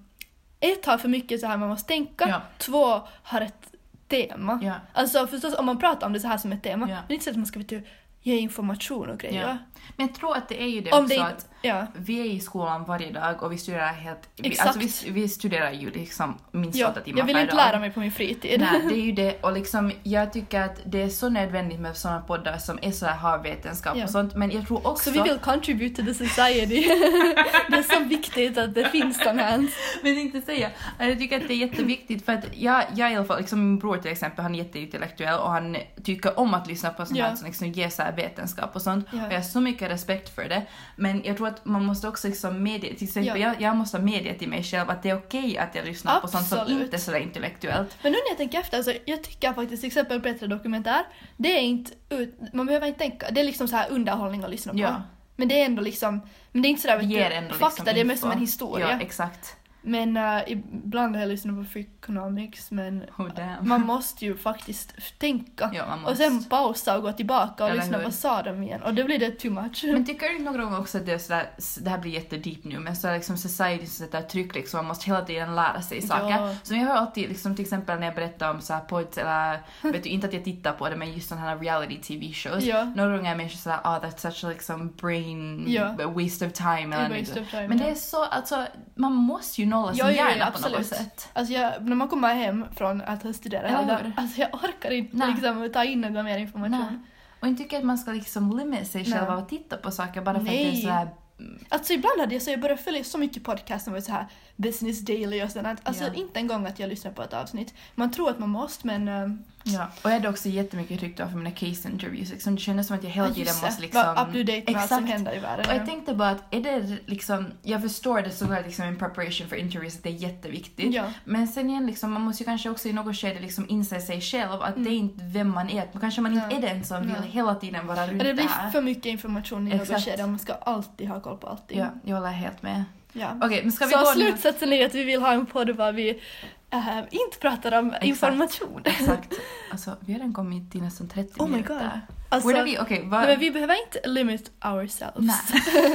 [SPEAKER 2] ett har för mycket så här man måste tänka,
[SPEAKER 1] Ja.
[SPEAKER 2] två har ett tema.
[SPEAKER 1] Ja.
[SPEAKER 2] Alltså förstås om man pratar om det så här som ett tema,
[SPEAKER 1] Ja.
[SPEAKER 2] men inte så att man ska vet du, ge information och grejer.
[SPEAKER 1] Ja. Men jag tror att det är ju det
[SPEAKER 2] Om
[SPEAKER 1] också
[SPEAKER 2] det inte-
[SPEAKER 1] att
[SPEAKER 2] Ja.
[SPEAKER 1] vi är i skolan varje dag och vi studerar helt... Vi,
[SPEAKER 2] Exakt.
[SPEAKER 1] alltså vi, vi studerar ju liksom minst
[SPEAKER 2] Ja.
[SPEAKER 1] åtta timmar
[SPEAKER 2] Jag vill
[SPEAKER 1] per
[SPEAKER 2] inte
[SPEAKER 1] dag.
[SPEAKER 2] lära mig på min fritid.
[SPEAKER 1] Nej, det är ju det. Och liksom, jag tycker att det är så nödvändigt med sådana poddar som är så här har vetenskap
[SPEAKER 2] Ja.
[SPEAKER 1] och sånt. Men jag tror också...
[SPEAKER 2] Så vi vill contribute to the society. det är så viktigt att det finns sån här.
[SPEAKER 1] Men inte säga. Alltså, Jag tycker att det är jätteviktigt för att jag, jag i alla fall, liksom min bror till exempel, han är jätteintellektuell och han tycker om att lyssna på sånt
[SPEAKER 2] Ja.
[SPEAKER 1] här som liksom ger så här vetenskap och sånt.
[SPEAKER 2] Ja.
[SPEAKER 1] Och jag har så mycket respekt för det. Men jag tror att man måste också liksom medge, till exempel
[SPEAKER 2] Ja.
[SPEAKER 1] jag, jag måste medge till mig själv att det är okej att jag lyssnar på sånt som
[SPEAKER 2] Absolut.
[SPEAKER 1] inte är sådär intellektuellt.
[SPEAKER 2] Men nu när jag tänker efter, alltså, jag tycker faktiskt till exempel bättre dokumentär, det är inte ut, man behöver inte tänka, det är liksom så här underhållning att lyssna på.
[SPEAKER 1] Ja.
[SPEAKER 2] Men det är ändå liksom, men det är inte sådär
[SPEAKER 1] Det
[SPEAKER 2] vet du,
[SPEAKER 1] ger ändå
[SPEAKER 2] fakta,
[SPEAKER 1] liksom
[SPEAKER 2] det är mer
[SPEAKER 1] info.
[SPEAKER 2] som en historia.
[SPEAKER 1] Ja, exakt.
[SPEAKER 2] men eh, ibland har jag lyssnat på freakonomics men
[SPEAKER 1] Oh, damn.
[SPEAKER 2] man måste ju faktiskt f- tänka.
[SPEAKER 1] Ja, man
[SPEAKER 2] Och
[SPEAKER 1] måste.
[SPEAKER 2] sen pausa och gå tillbaka och
[SPEAKER 1] Eller
[SPEAKER 2] lyssna
[SPEAKER 1] hur?
[SPEAKER 2] på sa de igen och då blir det too much.
[SPEAKER 1] Men tycker du någon gång också att det är sådär, s- det här blir jättedeep nu, men så är liksom society som sätter tryck liksom, man måste hela tiden lära sig saker.
[SPEAKER 2] Ja.
[SPEAKER 1] Som jag hör alltid, liksom, till exempel när jag berättar om såhär pods eller, vet du, inte att jag tittar på det, men just sådana här reality TV shows.
[SPEAKER 2] Ja.
[SPEAKER 1] Några gånger är människor såhär, ah that's such a liksom brain
[SPEAKER 2] Ja.
[SPEAKER 1] waste of time.
[SPEAKER 2] Det är
[SPEAKER 1] Eller
[SPEAKER 2] waste
[SPEAKER 1] något.
[SPEAKER 2] of time,
[SPEAKER 1] men
[SPEAKER 2] ja.
[SPEAKER 1] det är så, alltså, man måste ju nolla sin
[SPEAKER 2] Ja, ja, ja,
[SPEAKER 1] hjärna på något
[SPEAKER 2] absolut.
[SPEAKER 1] sätt.
[SPEAKER 2] Alltså jag, när man kommer hem från att ha studerat,
[SPEAKER 1] Eller
[SPEAKER 2] alla-
[SPEAKER 1] hur?
[SPEAKER 2] alltså jag orkar inte
[SPEAKER 1] Nej.
[SPEAKER 2] liksom, ta in någon mer information.
[SPEAKER 1] Nej. Och jag tycker att man ska liksom limit sig
[SPEAKER 2] Nej.
[SPEAKER 1] själv av att titta på saker bara för att det
[SPEAKER 2] Nej.
[SPEAKER 1] är såhär
[SPEAKER 2] Alltså ibland hade jag, så jag började följa så mycket podcast som var så här business daily och sånt. Alltså
[SPEAKER 1] Ja.
[SPEAKER 2] inte en gång att jag lyssnar på ett avsnitt. Man tror att man måste men... ehm,
[SPEAKER 1] Ja, och jag hade också jättemycket rykte för mina case interviews. Liksom, det kändes som att jag hela
[SPEAKER 2] ja,
[SPEAKER 1] tiden
[SPEAKER 2] just det.
[SPEAKER 1] måste liksom...
[SPEAKER 2] Vara up to date med allt som händer i världen.
[SPEAKER 1] Och jag tänkte bara att är det liksom, jag förstår det såklart liksom en preparation för interviews att det är jätteviktigt.
[SPEAKER 2] Ja.
[SPEAKER 1] Men sen igen liksom, man måste ju kanske också i något skede liksom inse sig själv att det är inte vem man är. Men kanske man inte
[SPEAKER 2] Mm. Nej.
[SPEAKER 1] är den som vill
[SPEAKER 2] Nej.
[SPEAKER 1] hela tiden vara runt
[SPEAKER 2] Ja, det blir
[SPEAKER 1] här.
[SPEAKER 2] för mycket information i något
[SPEAKER 1] Exakt.
[SPEAKER 2] skede och man ska alltid ha koll på allting.
[SPEAKER 1] Ja, jag håller helt med.
[SPEAKER 2] Ja.
[SPEAKER 1] Okej, men ska vi
[SPEAKER 2] så
[SPEAKER 1] gå nu?
[SPEAKER 2] slutsatsen är att vi vill ha en podd där vi ehm, inte pratar om information.
[SPEAKER 1] Exakt. Alltså, vi har redan kommit till nästan 30
[SPEAKER 2] Oh my
[SPEAKER 1] minuter.
[SPEAKER 2] God. Alltså,
[SPEAKER 1] Borde vi, okej, vad...
[SPEAKER 2] nej, men vi behöver inte limit ourselves.
[SPEAKER 1] Nej.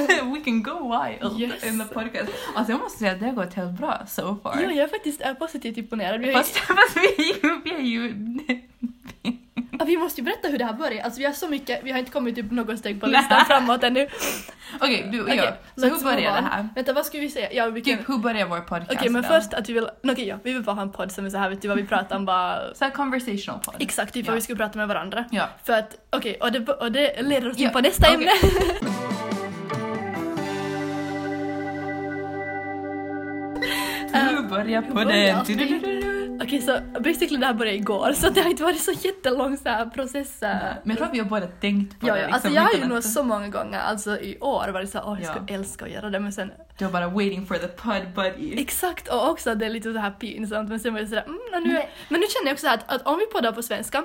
[SPEAKER 1] We can go wild
[SPEAKER 2] Yes.
[SPEAKER 1] in the podcast. Alltså jag måste säga att det har gått helt bra so far.
[SPEAKER 2] Jo, jag är faktiskt eh, positivt imponerad. Vi, har ju-
[SPEAKER 1] Fast, fast vi, är ju- vi är ju...
[SPEAKER 2] Ja, vi måste ju berätta hur det här började. Alltså, vi har så mycket, vi har inte kommit typ något steg på
[SPEAKER 1] Nej.
[SPEAKER 2] listan framåt ännu.
[SPEAKER 1] Okej, du och jag.
[SPEAKER 2] Okej,
[SPEAKER 1] Så
[SPEAKER 2] let's
[SPEAKER 1] hur börjar
[SPEAKER 2] move
[SPEAKER 1] det
[SPEAKER 2] on.
[SPEAKER 1] här?
[SPEAKER 2] Vänta, vad ska vi säga? Ja, vi kan...
[SPEAKER 1] Typ hur börjar vår podcast?
[SPEAKER 2] Okej, men
[SPEAKER 1] då?
[SPEAKER 2] först att vi vill... Okej, ja, vi vill bara ha en podd som är så här, vet du vad vi pratar om bara...
[SPEAKER 1] Så här conversational podd.
[SPEAKER 2] Exakt, typ vad
[SPEAKER 1] Ja.
[SPEAKER 2] vi ska prata med varandra.
[SPEAKER 1] Ja.
[SPEAKER 2] För att, okej, och, det, och det leder oss in
[SPEAKER 1] Ja,
[SPEAKER 2] på nästa
[SPEAKER 1] okej.
[SPEAKER 2] ämne. Um,
[SPEAKER 1] Nu börjar
[SPEAKER 2] börjar
[SPEAKER 1] podden! Du-du-du-du-du.
[SPEAKER 2] Okej, så basically det här började igår, så det har inte varit så jättelång så här process. äh,
[SPEAKER 1] Men jag tror att vi har båda tänkt på
[SPEAKER 2] Ja,
[SPEAKER 1] det.
[SPEAKER 2] ja,
[SPEAKER 1] liksom,
[SPEAKER 2] alltså jag har ju
[SPEAKER 1] utan
[SPEAKER 2] nog
[SPEAKER 1] att-
[SPEAKER 2] så många gånger, alltså i år varit så här, åh jag skulle
[SPEAKER 1] Ja.
[SPEAKER 2] älska att göra det, men sen
[SPEAKER 1] Du var bara waiting for the pod buddy.
[SPEAKER 2] Exakt, och också att det är lite så här pinsamt men sen var det sådär, mm, och nu,
[SPEAKER 1] Nej.
[SPEAKER 2] men nu känner jag också att, att om vi poddar på svenska,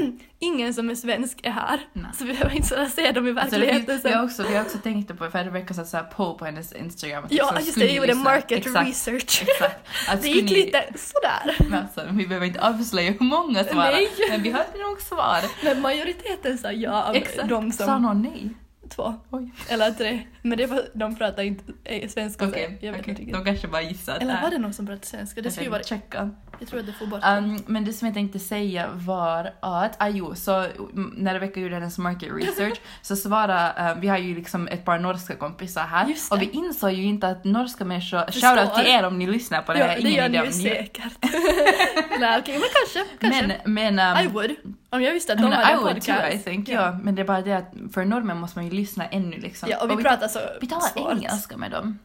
[SPEAKER 2] ingen som är svensk är här.
[SPEAKER 1] Nej.
[SPEAKER 2] Så vi behöver inte sådär se dem i
[SPEAKER 1] Alltså, det,
[SPEAKER 2] verkligheten
[SPEAKER 1] vi,
[SPEAKER 2] sen.
[SPEAKER 1] har också, vi har också tänkt på, för Rebecca satte såhär poll på hennes Instagram. att
[SPEAKER 2] Ja,
[SPEAKER 1] liksom,
[SPEAKER 2] just det,
[SPEAKER 1] skulle
[SPEAKER 2] jag
[SPEAKER 1] ni
[SPEAKER 2] gjorde
[SPEAKER 1] lyssna?
[SPEAKER 2] market
[SPEAKER 1] Exakt.
[SPEAKER 2] research.
[SPEAKER 1] Exakt. Alltså,
[SPEAKER 2] Det gick
[SPEAKER 1] skulle ni-
[SPEAKER 2] lite sådär.
[SPEAKER 1] Men alltså, vi behöver inte avslöja hur många svarar,
[SPEAKER 2] Nej.
[SPEAKER 1] men vi hade nog svar.
[SPEAKER 2] Men majoriteten sa ja av de som...
[SPEAKER 1] Sa någon nej?
[SPEAKER 2] Två
[SPEAKER 1] Oj.
[SPEAKER 2] eller tre. Men det var, de pratar inte eh, svenska. så
[SPEAKER 1] Okej,
[SPEAKER 2] jag vet
[SPEAKER 1] okej.
[SPEAKER 2] inte riktigt.
[SPEAKER 1] de kanske bara gissade.
[SPEAKER 2] Eller var det någon som pratade svenska? Det skulle ju vara,
[SPEAKER 1] checka.
[SPEAKER 2] jag tror att det får bort.
[SPEAKER 1] Um, men det som jag tänkte säga var att, ah, jo, så mm, när Rebecca gjorde hennes market research så svarade, um, vi har ju liksom ett par norska kompisar här
[SPEAKER 2] Just det.
[SPEAKER 1] och vi insåg ju inte att norska människor,
[SPEAKER 2] Förstår.
[SPEAKER 1] shoutout till er om ni lyssnar på det här,
[SPEAKER 2] ja, det gör
[SPEAKER 1] ingen
[SPEAKER 2] ni
[SPEAKER 1] idé om
[SPEAKER 2] ju
[SPEAKER 1] ni
[SPEAKER 2] säkert. Nej okej, men kanske. kanske.
[SPEAKER 1] Men, men um,
[SPEAKER 2] I would. Om jag visste att
[SPEAKER 1] I,
[SPEAKER 2] de
[SPEAKER 1] mean,
[SPEAKER 2] hade
[SPEAKER 1] I
[SPEAKER 2] en
[SPEAKER 1] would
[SPEAKER 2] podcast.
[SPEAKER 1] too, I think. Ja. men det är bara det att för normen måste man ju lyssna ännu liksom.
[SPEAKER 2] Ja, och vi, pratar så
[SPEAKER 1] vi talar
[SPEAKER 2] svårt.
[SPEAKER 1] engelska med dem.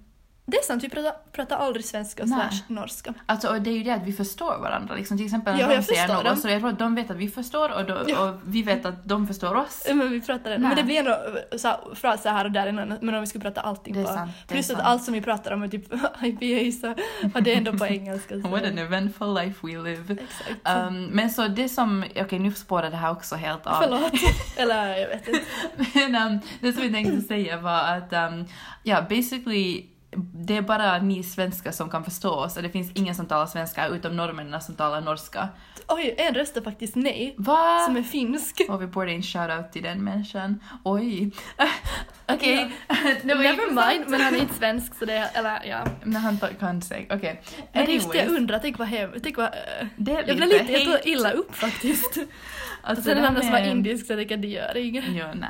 [SPEAKER 2] Det är sant, vi pratar, pratar aldrig svenska
[SPEAKER 1] Nej.
[SPEAKER 2] slash norska.
[SPEAKER 1] Alltså, och det är ju det att vi förstår varandra. Liksom, till exempel när
[SPEAKER 2] Ja,
[SPEAKER 1] de
[SPEAKER 2] jag
[SPEAKER 1] säger
[SPEAKER 2] förstår
[SPEAKER 1] något
[SPEAKER 2] dem.
[SPEAKER 1] så jag tror att de vet att vi förstår och, då,
[SPEAKER 2] Ja.
[SPEAKER 1] och vi vet att de förstår oss.
[SPEAKER 2] Men vi pratar den.
[SPEAKER 1] Nej.
[SPEAKER 2] Men det blir ändå eh, så här, fraser här och där innan, men om vi skulle prata allting
[SPEAKER 1] Det är
[SPEAKER 2] på...
[SPEAKER 1] sant. Det är
[SPEAKER 2] Plus att
[SPEAKER 1] sant.
[SPEAKER 2] allt som vi pratar om är typ IPA så har det är ändå på engelska. Så.
[SPEAKER 1] What an eventful life we live.
[SPEAKER 2] Exakt.
[SPEAKER 1] Um, men så det som, okej nu spårar det här också helt av.
[SPEAKER 2] Förlåt. Eller jag vet inte.
[SPEAKER 1] Men um, det som jag tänkte säga var att, um, ja basically det är bara ni svenskar som kan förstå oss och det finns ingen som talar svenska utom norrmännen som talar norska.
[SPEAKER 2] Oj, en röstar faktiskt nej.
[SPEAKER 1] Va?
[SPEAKER 2] Som är finsk.
[SPEAKER 1] Och vi borde ge en shoutout till den människan. Oj. Okej. Det var
[SPEAKER 2] Never mind,
[SPEAKER 1] intressant.
[SPEAKER 2] men han är inte svensk så det är, eller ja.
[SPEAKER 1] Men han tar- kan sig. Okej.
[SPEAKER 2] Men det är just det jag
[SPEAKER 1] Anyways,
[SPEAKER 2] undrar, tänk vad hem, tänk vad... eh,
[SPEAKER 1] det är
[SPEAKER 2] Jag blev lite, jag
[SPEAKER 1] hate.
[SPEAKER 2] tog illa upp faktiskt. Och
[SPEAKER 1] Alltså,
[SPEAKER 2] sen
[SPEAKER 1] det
[SPEAKER 2] den
[SPEAKER 1] här
[SPEAKER 2] andra som var
[SPEAKER 1] med-
[SPEAKER 2] indisk så jag tänker det gör inget.
[SPEAKER 1] Jo, nej.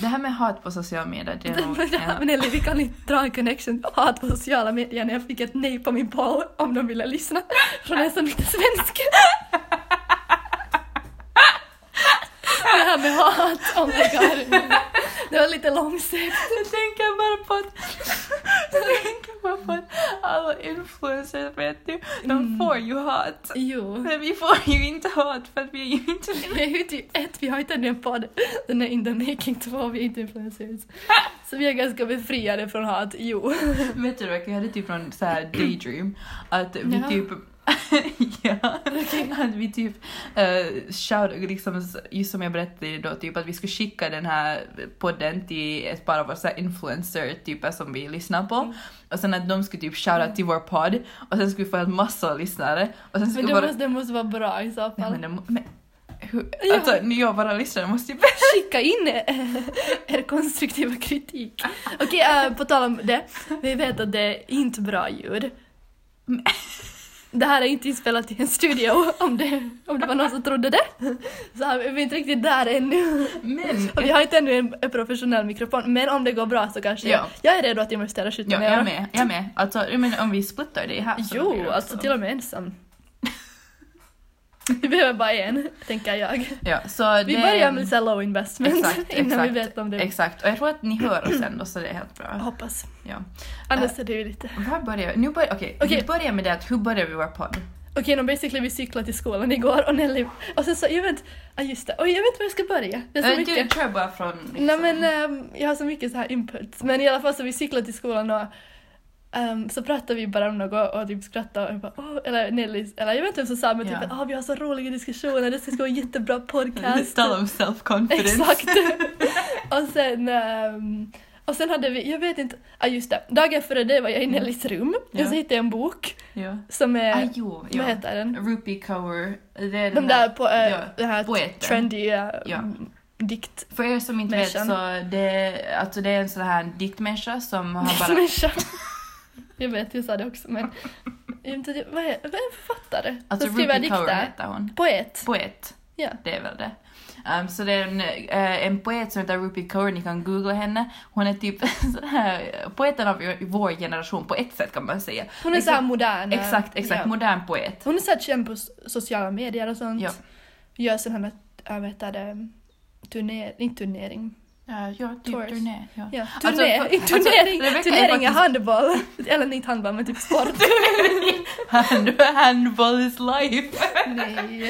[SPEAKER 1] Det här med hat på sociala medier, det är nog... ja.
[SPEAKER 2] Men Nelly, vi kan inte dra en connection hat på sociala medier när jag fick ett nej på min poll om de ville lyssna från en som inte är svensk. Det här med hat, oh my god. Det var lite långsökt.
[SPEAKER 1] Jag tänker bara på att... Jag tänker bara på att alla influencers, vet du, de
[SPEAKER 2] Mm.
[SPEAKER 1] får ju hat.
[SPEAKER 2] Jo.
[SPEAKER 1] Men vi får ju inte hat för att vi är ju inte...
[SPEAKER 2] Vi är ju typ ett, vi har inte en podd. Den är in the making två, vi är inte influencers. Så vi är ganska befriade från hat, jo.
[SPEAKER 1] Vet du, jag hade typ någon så här daydream att vi
[SPEAKER 2] Ja.
[SPEAKER 1] typ... ja, att vi typ uh, shout, liksom, just som jag berättade då, typ att vi skulle skicka den här podden till ett par av våra influencer-typer typ, som vi lyssnar på.
[SPEAKER 2] Mm.
[SPEAKER 1] Och sen att de skulle typ shouta till vår podd och sen skulle vi få en massa lyssnare. Och sen
[SPEAKER 2] Men
[SPEAKER 1] skulle
[SPEAKER 2] det
[SPEAKER 1] våra...
[SPEAKER 2] måste, det måste vara bra i så
[SPEAKER 1] Nej,
[SPEAKER 2] fall.
[SPEAKER 1] men det må... men... Hur...
[SPEAKER 2] Ja.
[SPEAKER 1] Alltså, ni och våra lyssnare måste ju...
[SPEAKER 2] skicka in eh, er konstruktiva kritik. Okej, eh, på tal om det. Vi vet att det är inte bra ljud. Det här är inte inspelat i en studio, om det, om det var någon som trodde det. Så här, vi är inte riktigt där ännu.
[SPEAKER 1] Men...
[SPEAKER 2] Och Alltså, vi har inte ännu en en professionell mikrofon, men om det går bra så kanske...
[SPEAKER 1] Ja.
[SPEAKER 2] Jag är redo att investera 17
[SPEAKER 1] Ja, jag med. Jag med. Alltså, jag menar, om vi splittar det här så blir
[SPEAKER 2] Jo,
[SPEAKER 1] det
[SPEAKER 2] alltså
[SPEAKER 1] också-
[SPEAKER 2] till och med ensam. Vi behöver bara en, tänker jag.
[SPEAKER 1] Ja, så
[SPEAKER 2] Vi
[SPEAKER 1] det-
[SPEAKER 2] börjar med så här low investment
[SPEAKER 1] Exakt,
[SPEAKER 2] innan vi
[SPEAKER 1] exakt,
[SPEAKER 2] vet om det
[SPEAKER 1] Exakt, och jag tror att ni hör oss ändå så det är helt bra.
[SPEAKER 2] Hoppas.
[SPEAKER 1] Ja.
[SPEAKER 2] Annars är det ju lite...
[SPEAKER 1] Var börjar vi? Nu börjar, okej,
[SPEAKER 2] Okej.
[SPEAKER 1] vi börjar med det att hur börjar vi vår podd?
[SPEAKER 2] Okej, okay, basically vi cyklade till skolan igår och Nelly... Och sen så, jag vet... Ja just det. Oj, jag vet var jag ska börja. Det är så
[SPEAKER 1] Äh, Du
[SPEAKER 2] mycket.
[SPEAKER 1] kör bara från... Liksom.
[SPEAKER 2] Nej men ehm, jag har så mycket så här inputs. Men i alla fall så vi cyklade till skolan och ehm, så pratade vi bara om något och typ skrattade och jag bara åh, eller Nelly, eller jag vet inte vem som sa men typ
[SPEAKER 1] Ja.
[SPEAKER 2] att "Ah, vi har så roliga diskussioner, det ska gå en jättebra podcast.
[SPEAKER 1] Tala om self-confidence.
[SPEAKER 2] eh, Exakt. och sen... ehm, och sen hade vi, jag vet inte, ja ah, just det, dagen före det var jag i Nellys rum
[SPEAKER 1] Mm. Ja.
[SPEAKER 2] och så hittade jag en bok
[SPEAKER 1] Ja.
[SPEAKER 2] som är,
[SPEAKER 1] Ah, jo, ja.
[SPEAKER 2] Eh, vad heter den?
[SPEAKER 1] Rupi Kaur. Det är
[SPEAKER 2] De där på, äh,
[SPEAKER 1] ja,
[SPEAKER 2] den här
[SPEAKER 1] poeten.
[SPEAKER 2] trendy äh,
[SPEAKER 1] Ja.
[SPEAKER 2] dikt...
[SPEAKER 1] För er som inte vet
[SPEAKER 2] Människan.
[SPEAKER 1] så det, alltså det är en sån här diktmänniska som har bara...
[SPEAKER 2] diktmänniska. jag vet, jag sa det också men... Jag vet inte, vad är, vad är en författare?
[SPEAKER 1] Alltså
[SPEAKER 2] som skriver
[SPEAKER 1] Rupi Kaur
[SPEAKER 2] dikter?
[SPEAKER 1] heter hon.
[SPEAKER 2] Poet.
[SPEAKER 1] Poet.
[SPEAKER 2] Ja.
[SPEAKER 1] Det är väl det. Um, så det är en, eh, en poet som heter Rupi Kaur, ni kan googla henne. Hon är typ sån här, poeten av vår generation på ett sätt kan man säga.
[SPEAKER 2] Hon är
[SPEAKER 1] Liksom-
[SPEAKER 2] såhär modern. äh,
[SPEAKER 1] Exakt, exakt,
[SPEAKER 2] Ja.
[SPEAKER 1] modern poet.
[SPEAKER 2] Hon är såhär känd på s- sociala medier och sånt.
[SPEAKER 1] Ja.
[SPEAKER 2] Gör sådana här, äh, vad heter det, turner, inte turnering.
[SPEAKER 1] Uh, ja, typ
[SPEAKER 2] Tours.
[SPEAKER 1] turné. Ja.
[SPEAKER 2] Ja,
[SPEAKER 1] Alltså,
[SPEAKER 2] turné,
[SPEAKER 1] för- alltså,
[SPEAKER 2] turnering,
[SPEAKER 1] Rebecca är
[SPEAKER 2] turnering är
[SPEAKER 1] faktiskt-
[SPEAKER 2] handboll. Eller inte handboll men typ sport.
[SPEAKER 1] Hand, handball is life!
[SPEAKER 2] Nej,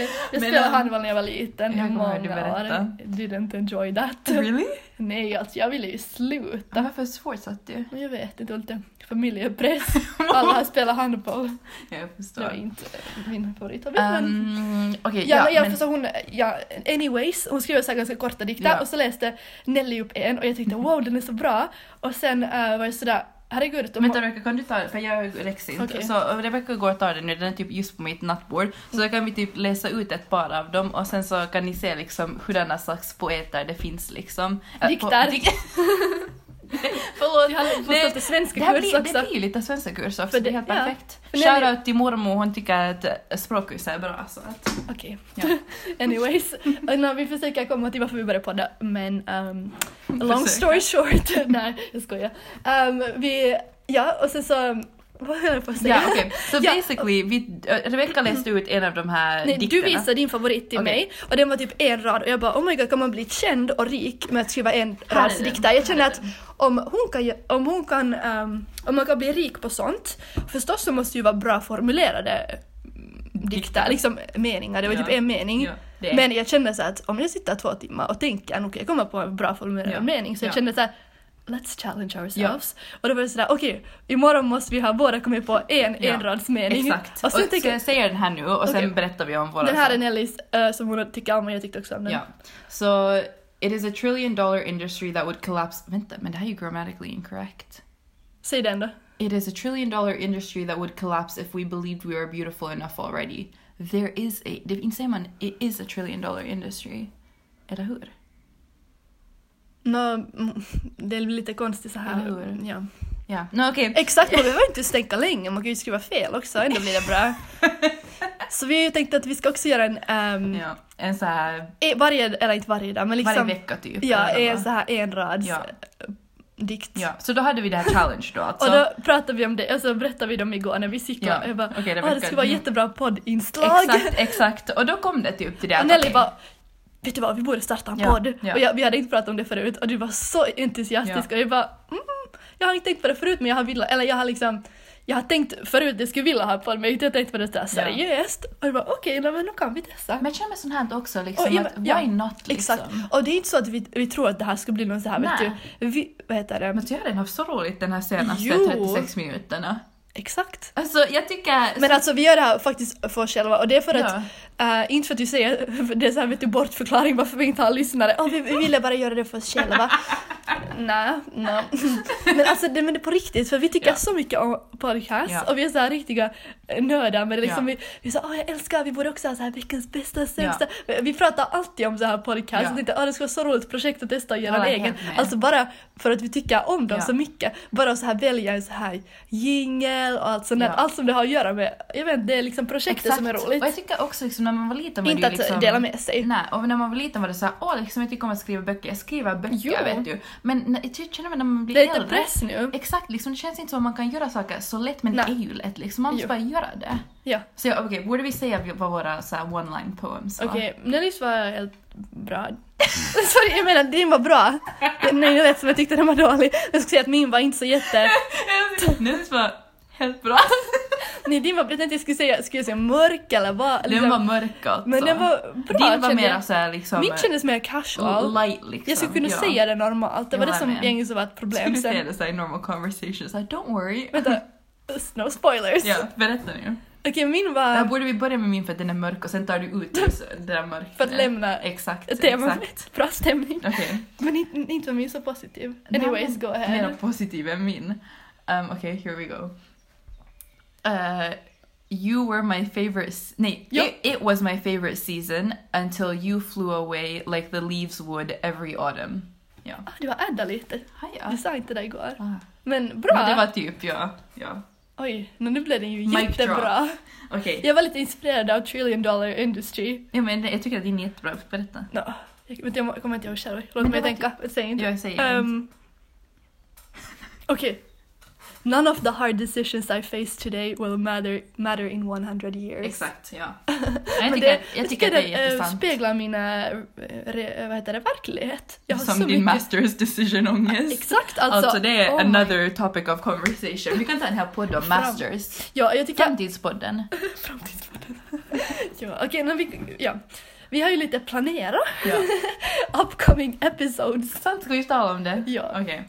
[SPEAKER 1] Men,
[SPEAKER 2] jag spelade
[SPEAKER 1] um,
[SPEAKER 2] handboll när jag var liten i
[SPEAKER 1] jag kommer
[SPEAKER 2] många
[SPEAKER 1] ihåg du berättade.
[SPEAKER 2] år. Didn't enjoy that.
[SPEAKER 1] Really?
[SPEAKER 2] Nej, alltså jag ville ju sluta.
[SPEAKER 1] Varför svårsatt du?
[SPEAKER 2] Men jag vet inte, det var lite familjepress. Alla har spelat handboll.
[SPEAKER 1] jag
[SPEAKER 2] Det var
[SPEAKER 1] förstår.
[SPEAKER 2] inte min favorit. men...
[SPEAKER 1] Um, Okej,
[SPEAKER 2] Ja, men,
[SPEAKER 1] ja,
[SPEAKER 2] ja,
[SPEAKER 1] men
[SPEAKER 2] för så hon, ja, anyways, hon skrev så här ganska korta dikter
[SPEAKER 1] Ja. Mhm.
[SPEAKER 2] och så läste Nelly upp en och jag tyckte wow den är så bra och sen eh, var jag sådär herregud. de
[SPEAKER 1] Vänta
[SPEAKER 2] har-
[SPEAKER 1] Rebecka, kan du ta För jag räcks inte.
[SPEAKER 2] Okej.
[SPEAKER 1] Så om Rebecka går och tar den nu, den är typ just på mitt nattbord. Så då kan vi typ läsa ut ett par av dem och sen så kan ni se liksom hurdana slags poeter det finns liksom. Äh,
[SPEAKER 2] Diktar.
[SPEAKER 1] på- dik- Förlåt.
[SPEAKER 2] jag har
[SPEAKER 1] det-
[SPEAKER 2] fått lite svenska
[SPEAKER 1] Det, här
[SPEAKER 2] kurs
[SPEAKER 1] blir, det
[SPEAKER 2] också.
[SPEAKER 1] blir ju lite svenska kurs också,
[SPEAKER 2] För
[SPEAKER 1] det är
[SPEAKER 2] det-
[SPEAKER 1] helt
[SPEAKER 2] ja.
[SPEAKER 1] perfekt.
[SPEAKER 2] För när vi-
[SPEAKER 1] Shoutout till mormor, hon tycker att eh, språkkurs är bra. Så att,
[SPEAKER 2] Okej.
[SPEAKER 1] Ja.
[SPEAKER 2] Anyways, och när vi försöker komma till varför vi började podda men ehm, long
[SPEAKER 1] Försök.
[SPEAKER 2] story short, nej jag skojar. Ehm, vi, ja och sen så Vad höll jag på att säga?
[SPEAKER 1] Ja, okej. Så
[SPEAKER 2] Ja.
[SPEAKER 1] basically, vi, eh, Rebecca läste ut en av de här
[SPEAKER 2] Nej, du
[SPEAKER 1] dikterna.
[SPEAKER 2] visade din favorit till
[SPEAKER 1] Okej.
[SPEAKER 2] mig och den var typ en rad och jag bara oh my god kan man bli känd och rik med att skriva en
[SPEAKER 1] Här är
[SPEAKER 2] rads
[SPEAKER 1] den,
[SPEAKER 2] dikter? Jag känner
[SPEAKER 1] här är
[SPEAKER 2] att om hon kan, ge- om hon kan, ehm, om man kan bli rik på sånt, förstås så måste det ju vara bra formulerade mm, dikter,
[SPEAKER 1] Dikter.
[SPEAKER 2] liksom meningar, det var
[SPEAKER 1] Ja.
[SPEAKER 2] typ en mening.
[SPEAKER 1] Ja, det är-
[SPEAKER 2] Men jag känner så att om jag sitter två timmar och tänker, "Ah, okej jag kommer på en bra formulerad
[SPEAKER 1] Ja.
[SPEAKER 2] mening, så jag
[SPEAKER 1] Ja.
[SPEAKER 2] känner så här Let's challenge ourselves. Och då var det sådär, okej, imorgon måste vi ha båda kommit på en
[SPEAKER 1] Ja.
[SPEAKER 2] enradsmening.
[SPEAKER 1] Exakt.
[SPEAKER 2] Och sen tänker
[SPEAKER 1] jag säger den här nu och sen
[SPEAKER 2] Okej.
[SPEAKER 1] berättar vi om våra
[SPEAKER 2] Den här
[SPEAKER 1] svar.
[SPEAKER 2] är Nellies eh, som hon tycker om och jag tyckte också om den.
[SPEAKER 1] Ja. Så it is a trillion dollar industry that would collapse... Vänta, men det här är ju grammatically incorrect.
[SPEAKER 2] Säg den då.
[SPEAKER 1] It is a trillion dollar industry that would collapse if we believed we were beautiful enough already. There is a... Det inte säger man it is a trillion dollar industry. Eller hur?
[SPEAKER 2] Nå, mm, det är lite konstigt så här.
[SPEAKER 1] Eller hur?
[SPEAKER 2] Ja.
[SPEAKER 1] Ja. No, okej.
[SPEAKER 2] Exakt, man behöver inte tänka länge, man kan ju skriva fel också, ändå blir det bra. Så vi tänkte att vi ska också göra en, ehm,
[SPEAKER 1] Ja. En så här...
[SPEAKER 2] e- varje, eller inte varje dag, men liksom,
[SPEAKER 1] Varje vecka typ.
[SPEAKER 2] ja,
[SPEAKER 1] eller
[SPEAKER 2] en
[SPEAKER 1] vad?
[SPEAKER 2] så här en rads
[SPEAKER 1] Ja.
[SPEAKER 2] eh, dikt.
[SPEAKER 1] Ja, så då hade vi det här challenge då alltså.
[SPEAKER 2] Och då pratade vi om det, och så berättade vi dem igår när vi cyklade.
[SPEAKER 1] Ja,
[SPEAKER 2] Jag bara,
[SPEAKER 1] okej, det
[SPEAKER 2] ah, det
[SPEAKER 1] verkar- Mm.
[SPEAKER 2] skulle vara jättebra poddinslag.
[SPEAKER 1] Exakt, exakt. Och då kom det typ till det
[SPEAKER 2] Och
[SPEAKER 1] att-
[SPEAKER 2] Nelly bara Vet du vad, vi borde starta en
[SPEAKER 1] Ja,
[SPEAKER 2] podd.
[SPEAKER 1] ja.
[SPEAKER 2] Och jag, vi hade inte pratat om det förut och du var så entusiastisk och jag bara mm, Jag har inte tänkt på det förut men jag har velat, eller jag har liksom Jag har tänkt förut att jag skulle vilja ha en podd men jag har inte tänkt på det sådär seriöst. Och jag bara okej, okay, men då kan vi testa.
[SPEAKER 1] Men jag känner sånt här också liksom
[SPEAKER 2] Och i-
[SPEAKER 1] att
[SPEAKER 2] ja,
[SPEAKER 1] why not liksom?
[SPEAKER 2] Exakt. Och det är inte så att vi, vi tror att det här skulle bli någon så här vet
[SPEAKER 1] Nej.
[SPEAKER 2] du, vi, vad heter det?
[SPEAKER 1] Men jag har redan haft så roligt den här senaste
[SPEAKER 2] Jo.
[SPEAKER 1] 36 minuterna.
[SPEAKER 2] Exakt.
[SPEAKER 1] Alltså jag tycker...
[SPEAKER 2] Men alltså vi gör det här faktiskt för oss själva och det är för att
[SPEAKER 1] ja.
[SPEAKER 2] Eh, inte för att du säger, för det är så här vet du bortförklaring varför vi inte har lyssnare. Oh, vi, vi ville bara göra det för oss själva. Nej, nej. Men alltså det, men det är på riktigt för vi tycker
[SPEAKER 1] Ja.
[SPEAKER 2] så mycket om podcast
[SPEAKER 1] Ja.
[SPEAKER 2] och vi är så här riktiga nördar men det är liksom
[SPEAKER 1] Ja.
[SPEAKER 2] vi, vi sa oh, jag älskar, vi borde också ha så här veckans bästa och sämsta. Vi pratar alltid om så här podcast
[SPEAKER 1] Ja.
[SPEAKER 2] och tänkte oh, det skulle vara så roligt projekt att testa och göra en
[SPEAKER 1] Håller
[SPEAKER 2] egen.
[SPEAKER 1] helt med.
[SPEAKER 2] Alltså bara för att vi tycker om dem
[SPEAKER 1] Ja.
[SPEAKER 2] så mycket. Bara att så här välja en så här jingel och allt sånt där.
[SPEAKER 1] Ja.
[SPEAKER 2] Allt som det har att göra med, jag vet inte, det är liksom projektet som är roligt.
[SPEAKER 1] Och jag tycker också liksom när man var liten var
[SPEAKER 2] Inte
[SPEAKER 1] det
[SPEAKER 2] att
[SPEAKER 1] ju liksom...
[SPEAKER 2] dela med sig.
[SPEAKER 1] Nej, och när man var liten var det såhär, åh liksom jag tycker om att skriva böcker, jag skriver böcker
[SPEAKER 2] Jo.
[SPEAKER 1] vet du. Men när- jag ty- känner man när man blir
[SPEAKER 2] Det är lite
[SPEAKER 1] äldre.
[SPEAKER 2] press nu.
[SPEAKER 1] Exakt, liksom det känns inte som att man kan göra saker så lätt men det
[SPEAKER 2] Nej.
[SPEAKER 1] är ju lätt liksom, man måste
[SPEAKER 2] Jo.
[SPEAKER 1] bara göra det.
[SPEAKER 2] Ja.
[SPEAKER 1] Så jag- okej, borde vi säga vad våra så här, one line poems var?
[SPEAKER 2] Okej, Nellys var liksom helt bra. Sorry, jag menar din var bra. Nej, jag vet som jag tyckte den var dålig. Jag skulle säga att min var inte så jätte...
[SPEAKER 1] Nils var helt bra.
[SPEAKER 2] Nej, din var... Jag tänkte jag skulle säga, skulle jag säga mörk eller vad?
[SPEAKER 1] Den var mörk alltså.
[SPEAKER 2] Men den var bra
[SPEAKER 1] Din var
[SPEAKER 2] kände
[SPEAKER 1] mer
[SPEAKER 2] jag.
[SPEAKER 1] såhär liksom...
[SPEAKER 2] Min kändes mer
[SPEAKER 1] l-
[SPEAKER 2] casual.
[SPEAKER 1] light liksom.
[SPEAKER 2] Jag skulle kunna
[SPEAKER 1] ja.
[SPEAKER 2] säga det normalt. Det var
[SPEAKER 1] Jag
[SPEAKER 2] det som
[SPEAKER 1] med.
[SPEAKER 2] egentligen var ett problem
[SPEAKER 1] Skulle säga
[SPEAKER 2] sen.
[SPEAKER 1] det såhär i normal conversations, like, don't worry.
[SPEAKER 2] Vänta, no spoilers.
[SPEAKER 1] Ja, berätta nu.
[SPEAKER 2] Okej, min
[SPEAKER 1] Här
[SPEAKER 2] var...
[SPEAKER 1] borde vi börja med min för att den är mörk och sen tar du ut just det där mörka.
[SPEAKER 2] För att lämna
[SPEAKER 1] Exakt,
[SPEAKER 2] temat.
[SPEAKER 1] exakt.
[SPEAKER 2] Bra stämning.
[SPEAKER 1] Okej.
[SPEAKER 2] Typ, Men inte, inte var min så positiv.
[SPEAKER 1] Nej,
[SPEAKER 2] Anyways,
[SPEAKER 1] men
[SPEAKER 2] go ahead.
[SPEAKER 1] Mer positiv än min. Um, Okej, here we go. Uh, you were my favorite... s- Nej,
[SPEAKER 2] Ja.
[SPEAKER 1] it, it was my favorite season until you flew away like the leaves would every autumn. Ja.
[SPEAKER 2] Ah, du har addat lite.
[SPEAKER 1] Haja.
[SPEAKER 2] Du sa inte det igår.
[SPEAKER 1] Ah.
[SPEAKER 2] Men bra!
[SPEAKER 1] Men det var typ, ja. ja.
[SPEAKER 2] Oj, men nu blev den ju
[SPEAKER 1] Mic
[SPEAKER 2] jättebra.
[SPEAKER 1] Okej.
[SPEAKER 2] Jag var lite inspirerad av Trillion Dollar Industry.
[SPEAKER 1] Ja, men jag tycker att det är jättebra. Berätta.
[SPEAKER 2] No. Jag, men jag kommer inte ihåg själv. Låt
[SPEAKER 1] Men
[SPEAKER 2] mig
[SPEAKER 1] det var typ-
[SPEAKER 2] tänka. Säg inte.
[SPEAKER 1] Jag säger um,
[SPEAKER 2] Ehm, Okej. None of the hard decisions I face today will matter, matter in 100 years.
[SPEAKER 1] Exakt, ja. Nej, Jag
[SPEAKER 2] Men
[SPEAKER 1] tycker, att- jag tycker att det
[SPEAKER 2] den, eh,
[SPEAKER 1] är jättesant.
[SPEAKER 2] speglar mina, eh, re, vad heter det, verklighet. Jag har
[SPEAKER 1] Som
[SPEAKER 2] så
[SPEAKER 1] din
[SPEAKER 2] mycket...
[SPEAKER 1] masters decision ångest.
[SPEAKER 2] Exakt alltså.
[SPEAKER 1] Alltså, det är
[SPEAKER 2] oh my-
[SPEAKER 1] another topic of conversation. Vi kan ta en hel podd om
[SPEAKER 2] Fram-
[SPEAKER 1] masters.
[SPEAKER 2] Ja, jag tycker
[SPEAKER 1] Framtidspodden.
[SPEAKER 2] Framtidspodden. ja, okej, men vi, ja. vi har ju lite planerat
[SPEAKER 1] Ja.
[SPEAKER 2] upcoming episodes.
[SPEAKER 1] Sant, ska vi tala om det?
[SPEAKER 2] Ja.
[SPEAKER 1] Okej.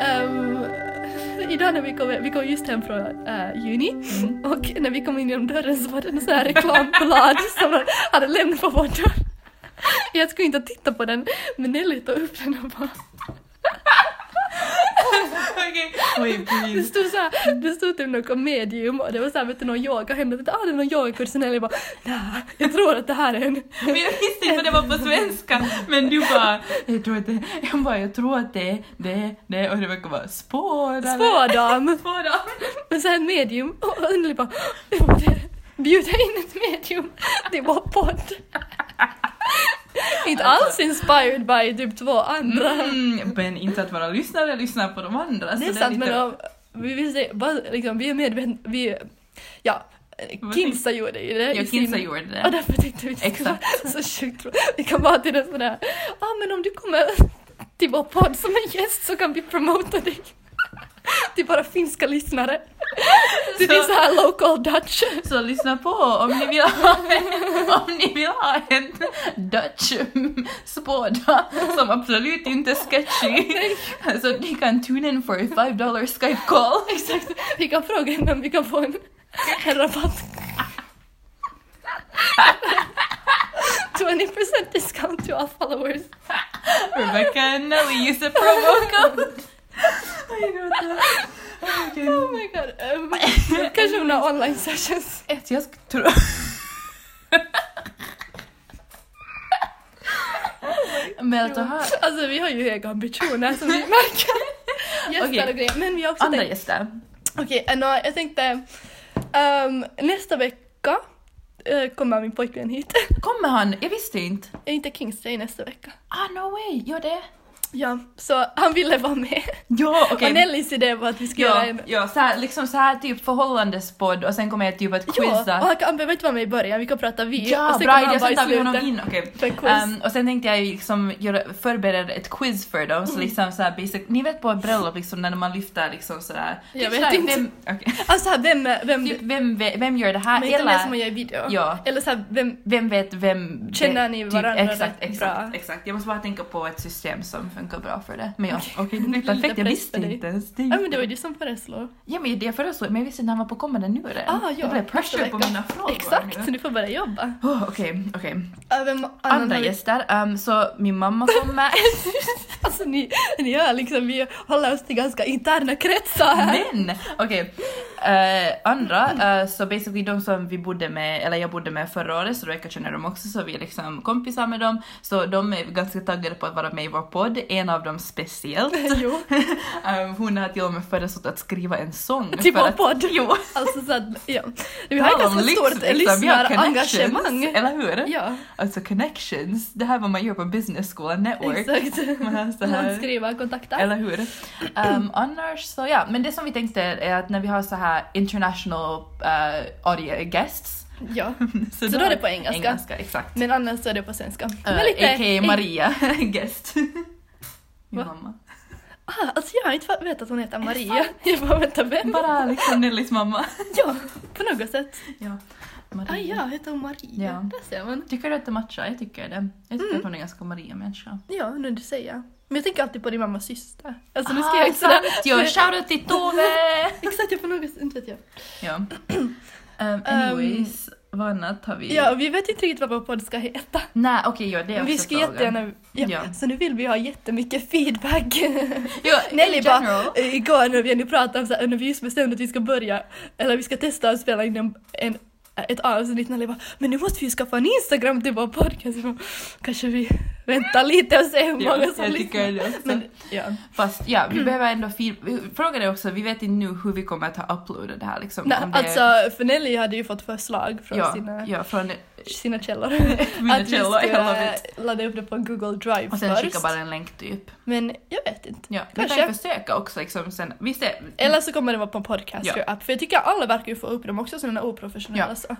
[SPEAKER 2] Ehm, idag när vi kom, vi kom just hem från eh, juni
[SPEAKER 1] Mm.
[SPEAKER 2] och när vi kom in genom dörren så var det en sån här reklamblad som de hade lämnat på vår dörr. Jag skulle inte titta på den men Nelly tog upp den och bara
[SPEAKER 1] Okej. Oj,
[SPEAKER 2] Det
[SPEAKER 1] gud.
[SPEAKER 2] stod så här, det stod typ något medium och det var så här, vet du, någon yoga hemma. Jag tänkte, ah det är någon yogakurs. Och Nelly bara, nej, jag tror att det här är en
[SPEAKER 1] Men jag visste inte vad det var på svenska. Men du bara, jag tror att det, jag bara, jag tror att det, det, det. Och det verkar vara spådare.
[SPEAKER 2] spådam.
[SPEAKER 1] Spådare.
[SPEAKER 2] Men så här medium, och Anneli bara "Åh, bjuda in ett medium till vår podd. Inte alls inspired by typ två andra. Alltså,
[SPEAKER 1] Mm, men inte att våra lyssnare lyssnar på de andra. så
[SPEAKER 2] det är
[SPEAKER 1] är
[SPEAKER 2] sant,
[SPEAKER 1] lite-
[SPEAKER 2] men då, vi, vill säga, bara, liksom, vi är medvetna, vi, ja,
[SPEAKER 1] Vad
[SPEAKER 2] Kinsa gjorde ju det. i
[SPEAKER 1] Ja,
[SPEAKER 2] sin-
[SPEAKER 1] Kinsa gjorde
[SPEAKER 2] Och
[SPEAKER 1] det.
[SPEAKER 2] därför tänkte vi att det skulle
[SPEAKER 1] Exakt.
[SPEAKER 2] vara så sjukt roligt. Vi kan bara till en sån här, ja ah, men om du kommer till vår podd som en gäst så kan vi promota dig. Till bara finska lyssnare. Så det är så här local dutch.
[SPEAKER 1] Så lyssna på om ni vill ha en, om ni vill ha en Dutch spåda som absolut inte är sketchy. Så ni kan tune in for a five dollar Skype call.
[SPEAKER 2] Exakt. Vi kan fråga henne om vi kan få en, en rabatt. 20% discount to all followers.
[SPEAKER 1] Rebecca and Nelly use the promo code.
[SPEAKER 2] Oh my god. Um, kanske hon har online sessions.
[SPEAKER 1] Ett, jag sk- tror... Men att du har
[SPEAKER 2] Alltså vi har ju höga ambitioner som vi märker. Gäster
[SPEAKER 1] Okej.
[SPEAKER 2] och grejer. Men vi har också
[SPEAKER 1] andra
[SPEAKER 2] tänkt...
[SPEAKER 1] gäster.
[SPEAKER 2] Okej, eh, nå, jag tänkte... ehm, nästa vecka eh, kommer min pojkvän hit.
[SPEAKER 1] Kommer han? Jag visste inte.
[SPEAKER 2] Jag är inte Kings Day nästa vecka.
[SPEAKER 1] Ah, no way! Gör det?
[SPEAKER 2] Ja, så han ville vara med.
[SPEAKER 1] Ja, okej.
[SPEAKER 2] Och Nellys idé var att vi ska göra
[SPEAKER 1] Ja,
[SPEAKER 2] en...
[SPEAKER 1] ja så här, liksom så här typ förhållandespodd och sen kommer jag typ att
[SPEAKER 2] Ja,
[SPEAKER 1] quizza.
[SPEAKER 2] och han, kan- han behöver inte vara med i början, vi kan prata vi.
[SPEAKER 1] Ja,
[SPEAKER 2] och sen
[SPEAKER 1] bra
[SPEAKER 2] kommer
[SPEAKER 1] idé,
[SPEAKER 2] han bara
[SPEAKER 1] sen
[SPEAKER 2] i
[SPEAKER 1] tar vi honom
[SPEAKER 2] slutet
[SPEAKER 1] in. Okej.
[SPEAKER 2] För quiz.
[SPEAKER 1] Ehm, och sen tänkte jag ju liksom göra, förbereda ett quiz för dem,
[SPEAKER 2] Mm.
[SPEAKER 1] så liksom så här basic, ni vet på ett bröllop liksom när man lyfter liksom sådär.
[SPEAKER 2] Jag
[SPEAKER 1] Typ
[SPEAKER 2] vet
[SPEAKER 1] sådär,
[SPEAKER 2] inte.
[SPEAKER 1] Vem, okej.
[SPEAKER 2] alltså här, vem... vem
[SPEAKER 1] typ, vem, vem, vem gör det
[SPEAKER 2] men
[SPEAKER 1] här?
[SPEAKER 2] inte mer som man
[SPEAKER 1] Eller
[SPEAKER 2] gör i video.
[SPEAKER 1] Ja.
[SPEAKER 2] Eller så här, vem...
[SPEAKER 1] vem vet vem?
[SPEAKER 2] Känner ni varandra
[SPEAKER 1] typ, exakt,
[SPEAKER 2] rätt
[SPEAKER 1] exakt,
[SPEAKER 2] bra?
[SPEAKER 1] exakt. Jag måste bara tänka på ett system som funkar bra för det. Men ja, okej, det
[SPEAKER 2] Nu
[SPEAKER 1] blir
[SPEAKER 2] blir det lite
[SPEAKER 1] perfekt. Jag
[SPEAKER 2] press
[SPEAKER 1] visste
[SPEAKER 2] på dig.
[SPEAKER 1] inte ens det.
[SPEAKER 2] Ja men det var ju du som föreslog.
[SPEAKER 1] Ja men det föreslog men jag visste inte han var på kommande nu redan.
[SPEAKER 2] Ah, ja,
[SPEAKER 1] det blev
[SPEAKER 2] nästa
[SPEAKER 1] pressure på
[SPEAKER 2] vecka.
[SPEAKER 1] mina frågor
[SPEAKER 2] Exakt, så
[SPEAKER 1] nu.
[SPEAKER 2] du får börja jobba.
[SPEAKER 1] Åh, Okej, okej.
[SPEAKER 2] Ja, Vem annan
[SPEAKER 1] Andra
[SPEAKER 2] har vi-
[SPEAKER 1] gäster, ehm, så min mamma kommer.
[SPEAKER 2] Alltså ni, ni gör liksom, vi håller oss till ganska interna kretsar här.
[SPEAKER 1] Men okej, Eh, andra, eh, så basically de som vi bodde med, eller jag bodde med förra året, så Rebecca känner dem också, så vi är liksom kompisar med dem. Så de är ganska taggade på att vara med i vår podd, en av dem speciellt.
[SPEAKER 2] Jo,
[SPEAKER 1] Ehm, hon har till och med föreslått att skriva en sång.
[SPEAKER 2] Till
[SPEAKER 1] för
[SPEAKER 2] vår
[SPEAKER 1] att-
[SPEAKER 2] podd.
[SPEAKER 1] Jo.
[SPEAKER 2] alltså så att, ja. Vi har ett
[SPEAKER 1] Tala om
[SPEAKER 2] ganska
[SPEAKER 1] lyx,
[SPEAKER 2] stort
[SPEAKER 1] liksom. Vi har connections,
[SPEAKER 2] lyssnarengagemang.
[SPEAKER 1] Eller hur?
[SPEAKER 2] Ja,
[SPEAKER 1] Alltså connections, det här är vad man gör på business school, network.
[SPEAKER 2] exakt.
[SPEAKER 1] Man har så
[SPEAKER 2] Man
[SPEAKER 1] här,
[SPEAKER 2] skriver kontakter.
[SPEAKER 1] eller hur? Um, annars så ja, men det som vi tänkte är att när vi har så här international uh, audio guests.
[SPEAKER 2] Ja. Så då är det på engelska.
[SPEAKER 1] Engelska, exakt.
[SPEAKER 2] Men annars så är det på svenska. Men
[SPEAKER 1] Eh, A.k.a.
[SPEAKER 2] en-
[SPEAKER 1] Maria guest. Min
[SPEAKER 2] Va?
[SPEAKER 1] mamma.
[SPEAKER 2] Ah, alltså jag har inte vetat att hon heter
[SPEAKER 1] det
[SPEAKER 2] Maria. Jag bara Mm. vänta, vem?
[SPEAKER 1] Bara liksom Nellys mamma.
[SPEAKER 2] Ja, på något sätt.
[SPEAKER 1] Ja. Maria.
[SPEAKER 2] Ah ja, heter hon Maria?
[SPEAKER 1] Ja.
[SPEAKER 2] Där ser man.
[SPEAKER 1] Tycker du att det matchar? Jag tycker det. Jag
[SPEAKER 2] Mm.
[SPEAKER 1] tycker att hon är ganska Maria-människa.
[SPEAKER 2] Ja, nu du säger. Men jag tänker alltid på din mammas syster. Alltså nu ska
[SPEAKER 1] Ah,
[SPEAKER 2] jag inte
[SPEAKER 1] sant
[SPEAKER 2] sådär-
[SPEAKER 1] ju! Shoutout till Tove!
[SPEAKER 2] Exakt, jag på något sätt, inte vet jag.
[SPEAKER 1] Ja. Um, anyways, vad annat har vi?
[SPEAKER 2] Ja, vi vet inte riktigt vad vår podd ska heta.
[SPEAKER 1] Nej okej, ja, det är
[SPEAKER 2] Men vi
[SPEAKER 1] också
[SPEAKER 2] ska
[SPEAKER 1] frågan.
[SPEAKER 2] jättegärna... Ja.
[SPEAKER 1] Ja.
[SPEAKER 2] Så nu vill vi ha jättemycket feedback.
[SPEAKER 1] Jo,
[SPEAKER 2] Nelly
[SPEAKER 1] in
[SPEAKER 2] bara,
[SPEAKER 1] general.
[SPEAKER 2] eh, igår när vi, när vi pratade om så här, när vi just bestämde att vi ska börja, eller vi ska testa att spela in en, en, ett avsnitt, Nelly bara, men nu måste vi ju skaffa en Instagram till vår podcast. Jag bara, Kanske vi väntar lite och ser hur
[SPEAKER 1] Ja,
[SPEAKER 2] många som
[SPEAKER 1] jag tycker
[SPEAKER 2] lyssnar.
[SPEAKER 1] det också.
[SPEAKER 2] Men, Mm. ja.
[SPEAKER 1] Fast ja, vi behöver ändå feedback. Frågan är också, vi vet inte nu hur vi kommer att ha uploadat det här liksom.
[SPEAKER 2] Nej,
[SPEAKER 1] om det är-
[SPEAKER 2] alltså, för Nelly hade ju fått förslag från
[SPEAKER 1] ja,
[SPEAKER 2] sina,
[SPEAKER 1] ja, från
[SPEAKER 2] sina källor.
[SPEAKER 1] mina
[SPEAKER 2] att vi
[SPEAKER 1] källor, I love
[SPEAKER 2] skulle
[SPEAKER 1] it.
[SPEAKER 2] ladda upp det på Google Drive
[SPEAKER 1] Och sen
[SPEAKER 2] först.
[SPEAKER 1] skicka bara en länk typ.
[SPEAKER 2] Men jag vet inte.
[SPEAKER 1] Ja, vi
[SPEAKER 2] Kanske.
[SPEAKER 1] kan ju försöka också liksom sen. Vi ser.
[SPEAKER 2] Eller så kommer det vara på en podcaster
[SPEAKER 1] Ja.
[SPEAKER 2] app. För jag tycker alla verkar ju få upp dem också som är oprofessionella.
[SPEAKER 1] Ja.
[SPEAKER 2] Så.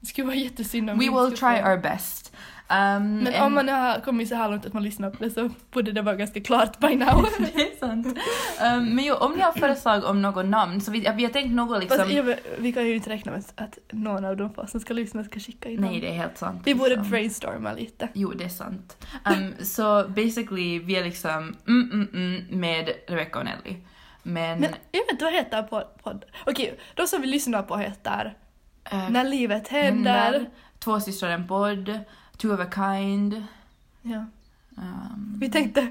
[SPEAKER 2] Det skulle vara jättesynd om
[SPEAKER 1] We
[SPEAKER 2] vi
[SPEAKER 1] will
[SPEAKER 2] inte skulle
[SPEAKER 1] try
[SPEAKER 2] få-
[SPEAKER 1] our best. Um,
[SPEAKER 2] Men om
[SPEAKER 1] and-
[SPEAKER 2] man har kommit så här långt att man lyssnar på det så borde det vara ganska klart by now.
[SPEAKER 1] det är sant. Um, men jo, om ni har förslag om något namn så vi, vi har tänkt något liksom...
[SPEAKER 2] Fast, jag, vet- vi kan ju inte räkna med att någon av de få som ska lyssna ska skicka in
[SPEAKER 1] Nej,
[SPEAKER 2] dem.
[SPEAKER 1] det är helt sant.
[SPEAKER 2] Vi borde
[SPEAKER 1] liksom.
[SPEAKER 2] brainstorma lite.
[SPEAKER 1] Jo, det är sant. Um, så basically, vi är liksom mm, mm, mm med Rebecca och Nelly. Men...
[SPEAKER 2] Men jag vet inte vad heter pod- podd? Okej, de som vi lyssnar på heter
[SPEAKER 1] eh,
[SPEAKER 2] När livet händer.
[SPEAKER 1] Två systrar en podd. Two of a kind.
[SPEAKER 2] Ja.
[SPEAKER 1] Um,
[SPEAKER 2] Vi tänkte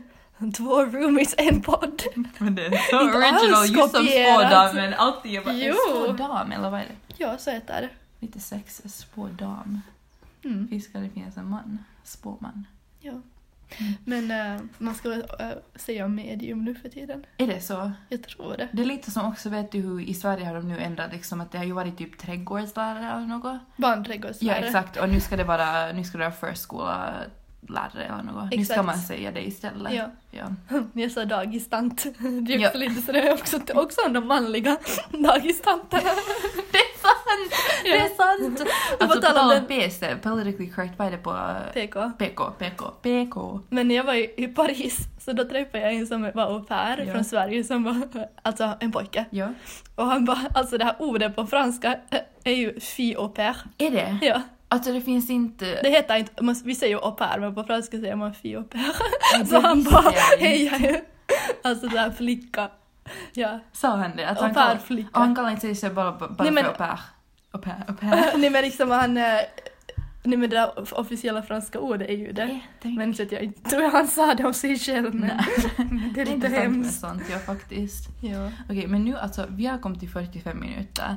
[SPEAKER 2] två roomies, en podd.
[SPEAKER 1] men det är så
[SPEAKER 2] Inte alls
[SPEAKER 1] original, just som
[SPEAKER 2] kopierat.
[SPEAKER 1] spådam. Men alltid jag bara, en
[SPEAKER 2] Jo.
[SPEAKER 1] spådam eller vad är det?
[SPEAKER 2] Ja, så heter det.
[SPEAKER 1] Lite sexig spådam.
[SPEAKER 2] Mm.
[SPEAKER 1] Visst ska det finnas en man? Spåman.
[SPEAKER 2] Ja. Men eh, man ska väl eh, säga medium nu för tiden.
[SPEAKER 1] Är det så?
[SPEAKER 2] Jag tror det.
[SPEAKER 1] Det är lite som också, vet du hur i Sverige har de nu ändrat liksom att det har ju varit typ trädgårdslärare eller något. Ja
[SPEAKER 2] Barnträdgårdslärare.
[SPEAKER 1] exakt och nu ska det vara, nu ska det vara förskola eh, lärare eller något. Nu ska
[SPEAKER 2] Exakt.
[SPEAKER 1] man säga det istället.
[SPEAKER 2] Ja.
[SPEAKER 1] Ja.
[SPEAKER 2] Jag sa dagistant. Det är
[SPEAKER 1] Ja.
[SPEAKER 2] också lite sådär också, också om de manliga dagistanterna.
[SPEAKER 1] Det är sant! Det är sant! Alltså på
[SPEAKER 2] tala om
[SPEAKER 1] tal om
[SPEAKER 2] den-
[SPEAKER 1] PC, politically correct, vad är det på eh,
[SPEAKER 2] PK.
[SPEAKER 1] PK? PK? PK?
[SPEAKER 2] Men när jag var i i Paris så då träffade jag en som var au pair
[SPEAKER 1] Ja.
[SPEAKER 2] från Sverige som var alltså en pojke.
[SPEAKER 1] Ja.
[SPEAKER 2] Och han bara, alltså det här ordet på franska eh, är ju fi au pair.
[SPEAKER 1] Är det?
[SPEAKER 2] Ja,
[SPEAKER 1] Alltså det finns inte...
[SPEAKER 2] det heter inte, man- vi säger ju au pair men på franska säger man fi au pair.
[SPEAKER 1] Alltså, det
[SPEAKER 2] Så han
[SPEAKER 1] visste
[SPEAKER 2] bara,
[SPEAKER 1] jag inte.
[SPEAKER 2] hej jag är alltså det här flicka. Ja,
[SPEAKER 1] Sa han det? Att
[SPEAKER 2] au
[SPEAKER 1] han,
[SPEAKER 2] pair
[SPEAKER 1] kallar, och
[SPEAKER 2] flicka.
[SPEAKER 1] han kallar inte sig bara, bara
[SPEAKER 2] Nej, men-
[SPEAKER 1] för au pair? Au pair? Au pair?
[SPEAKER 2] Nej men liksom han, eh, nej men det där officiella franska ordet är ju det.
[SPEAKER 1] Det är
[SPEAKER 2] Men så att jag inte tror han sa det om sig själv men
[SPEAKER 1] Nej.
[SPEAKER 2] det är
[SPEAKER 1] Det är
[SPEAKER 2] lite
[SPEAKER 1] inte sant med
[SPEAKER 2] hemskt.
[SPEAKER 1] sånt, ja faktiskt.
[SPEAKER 2] Ja.
[SPEAKER 1] Okej, men nu alltså, vi har kommit till 45 minuter.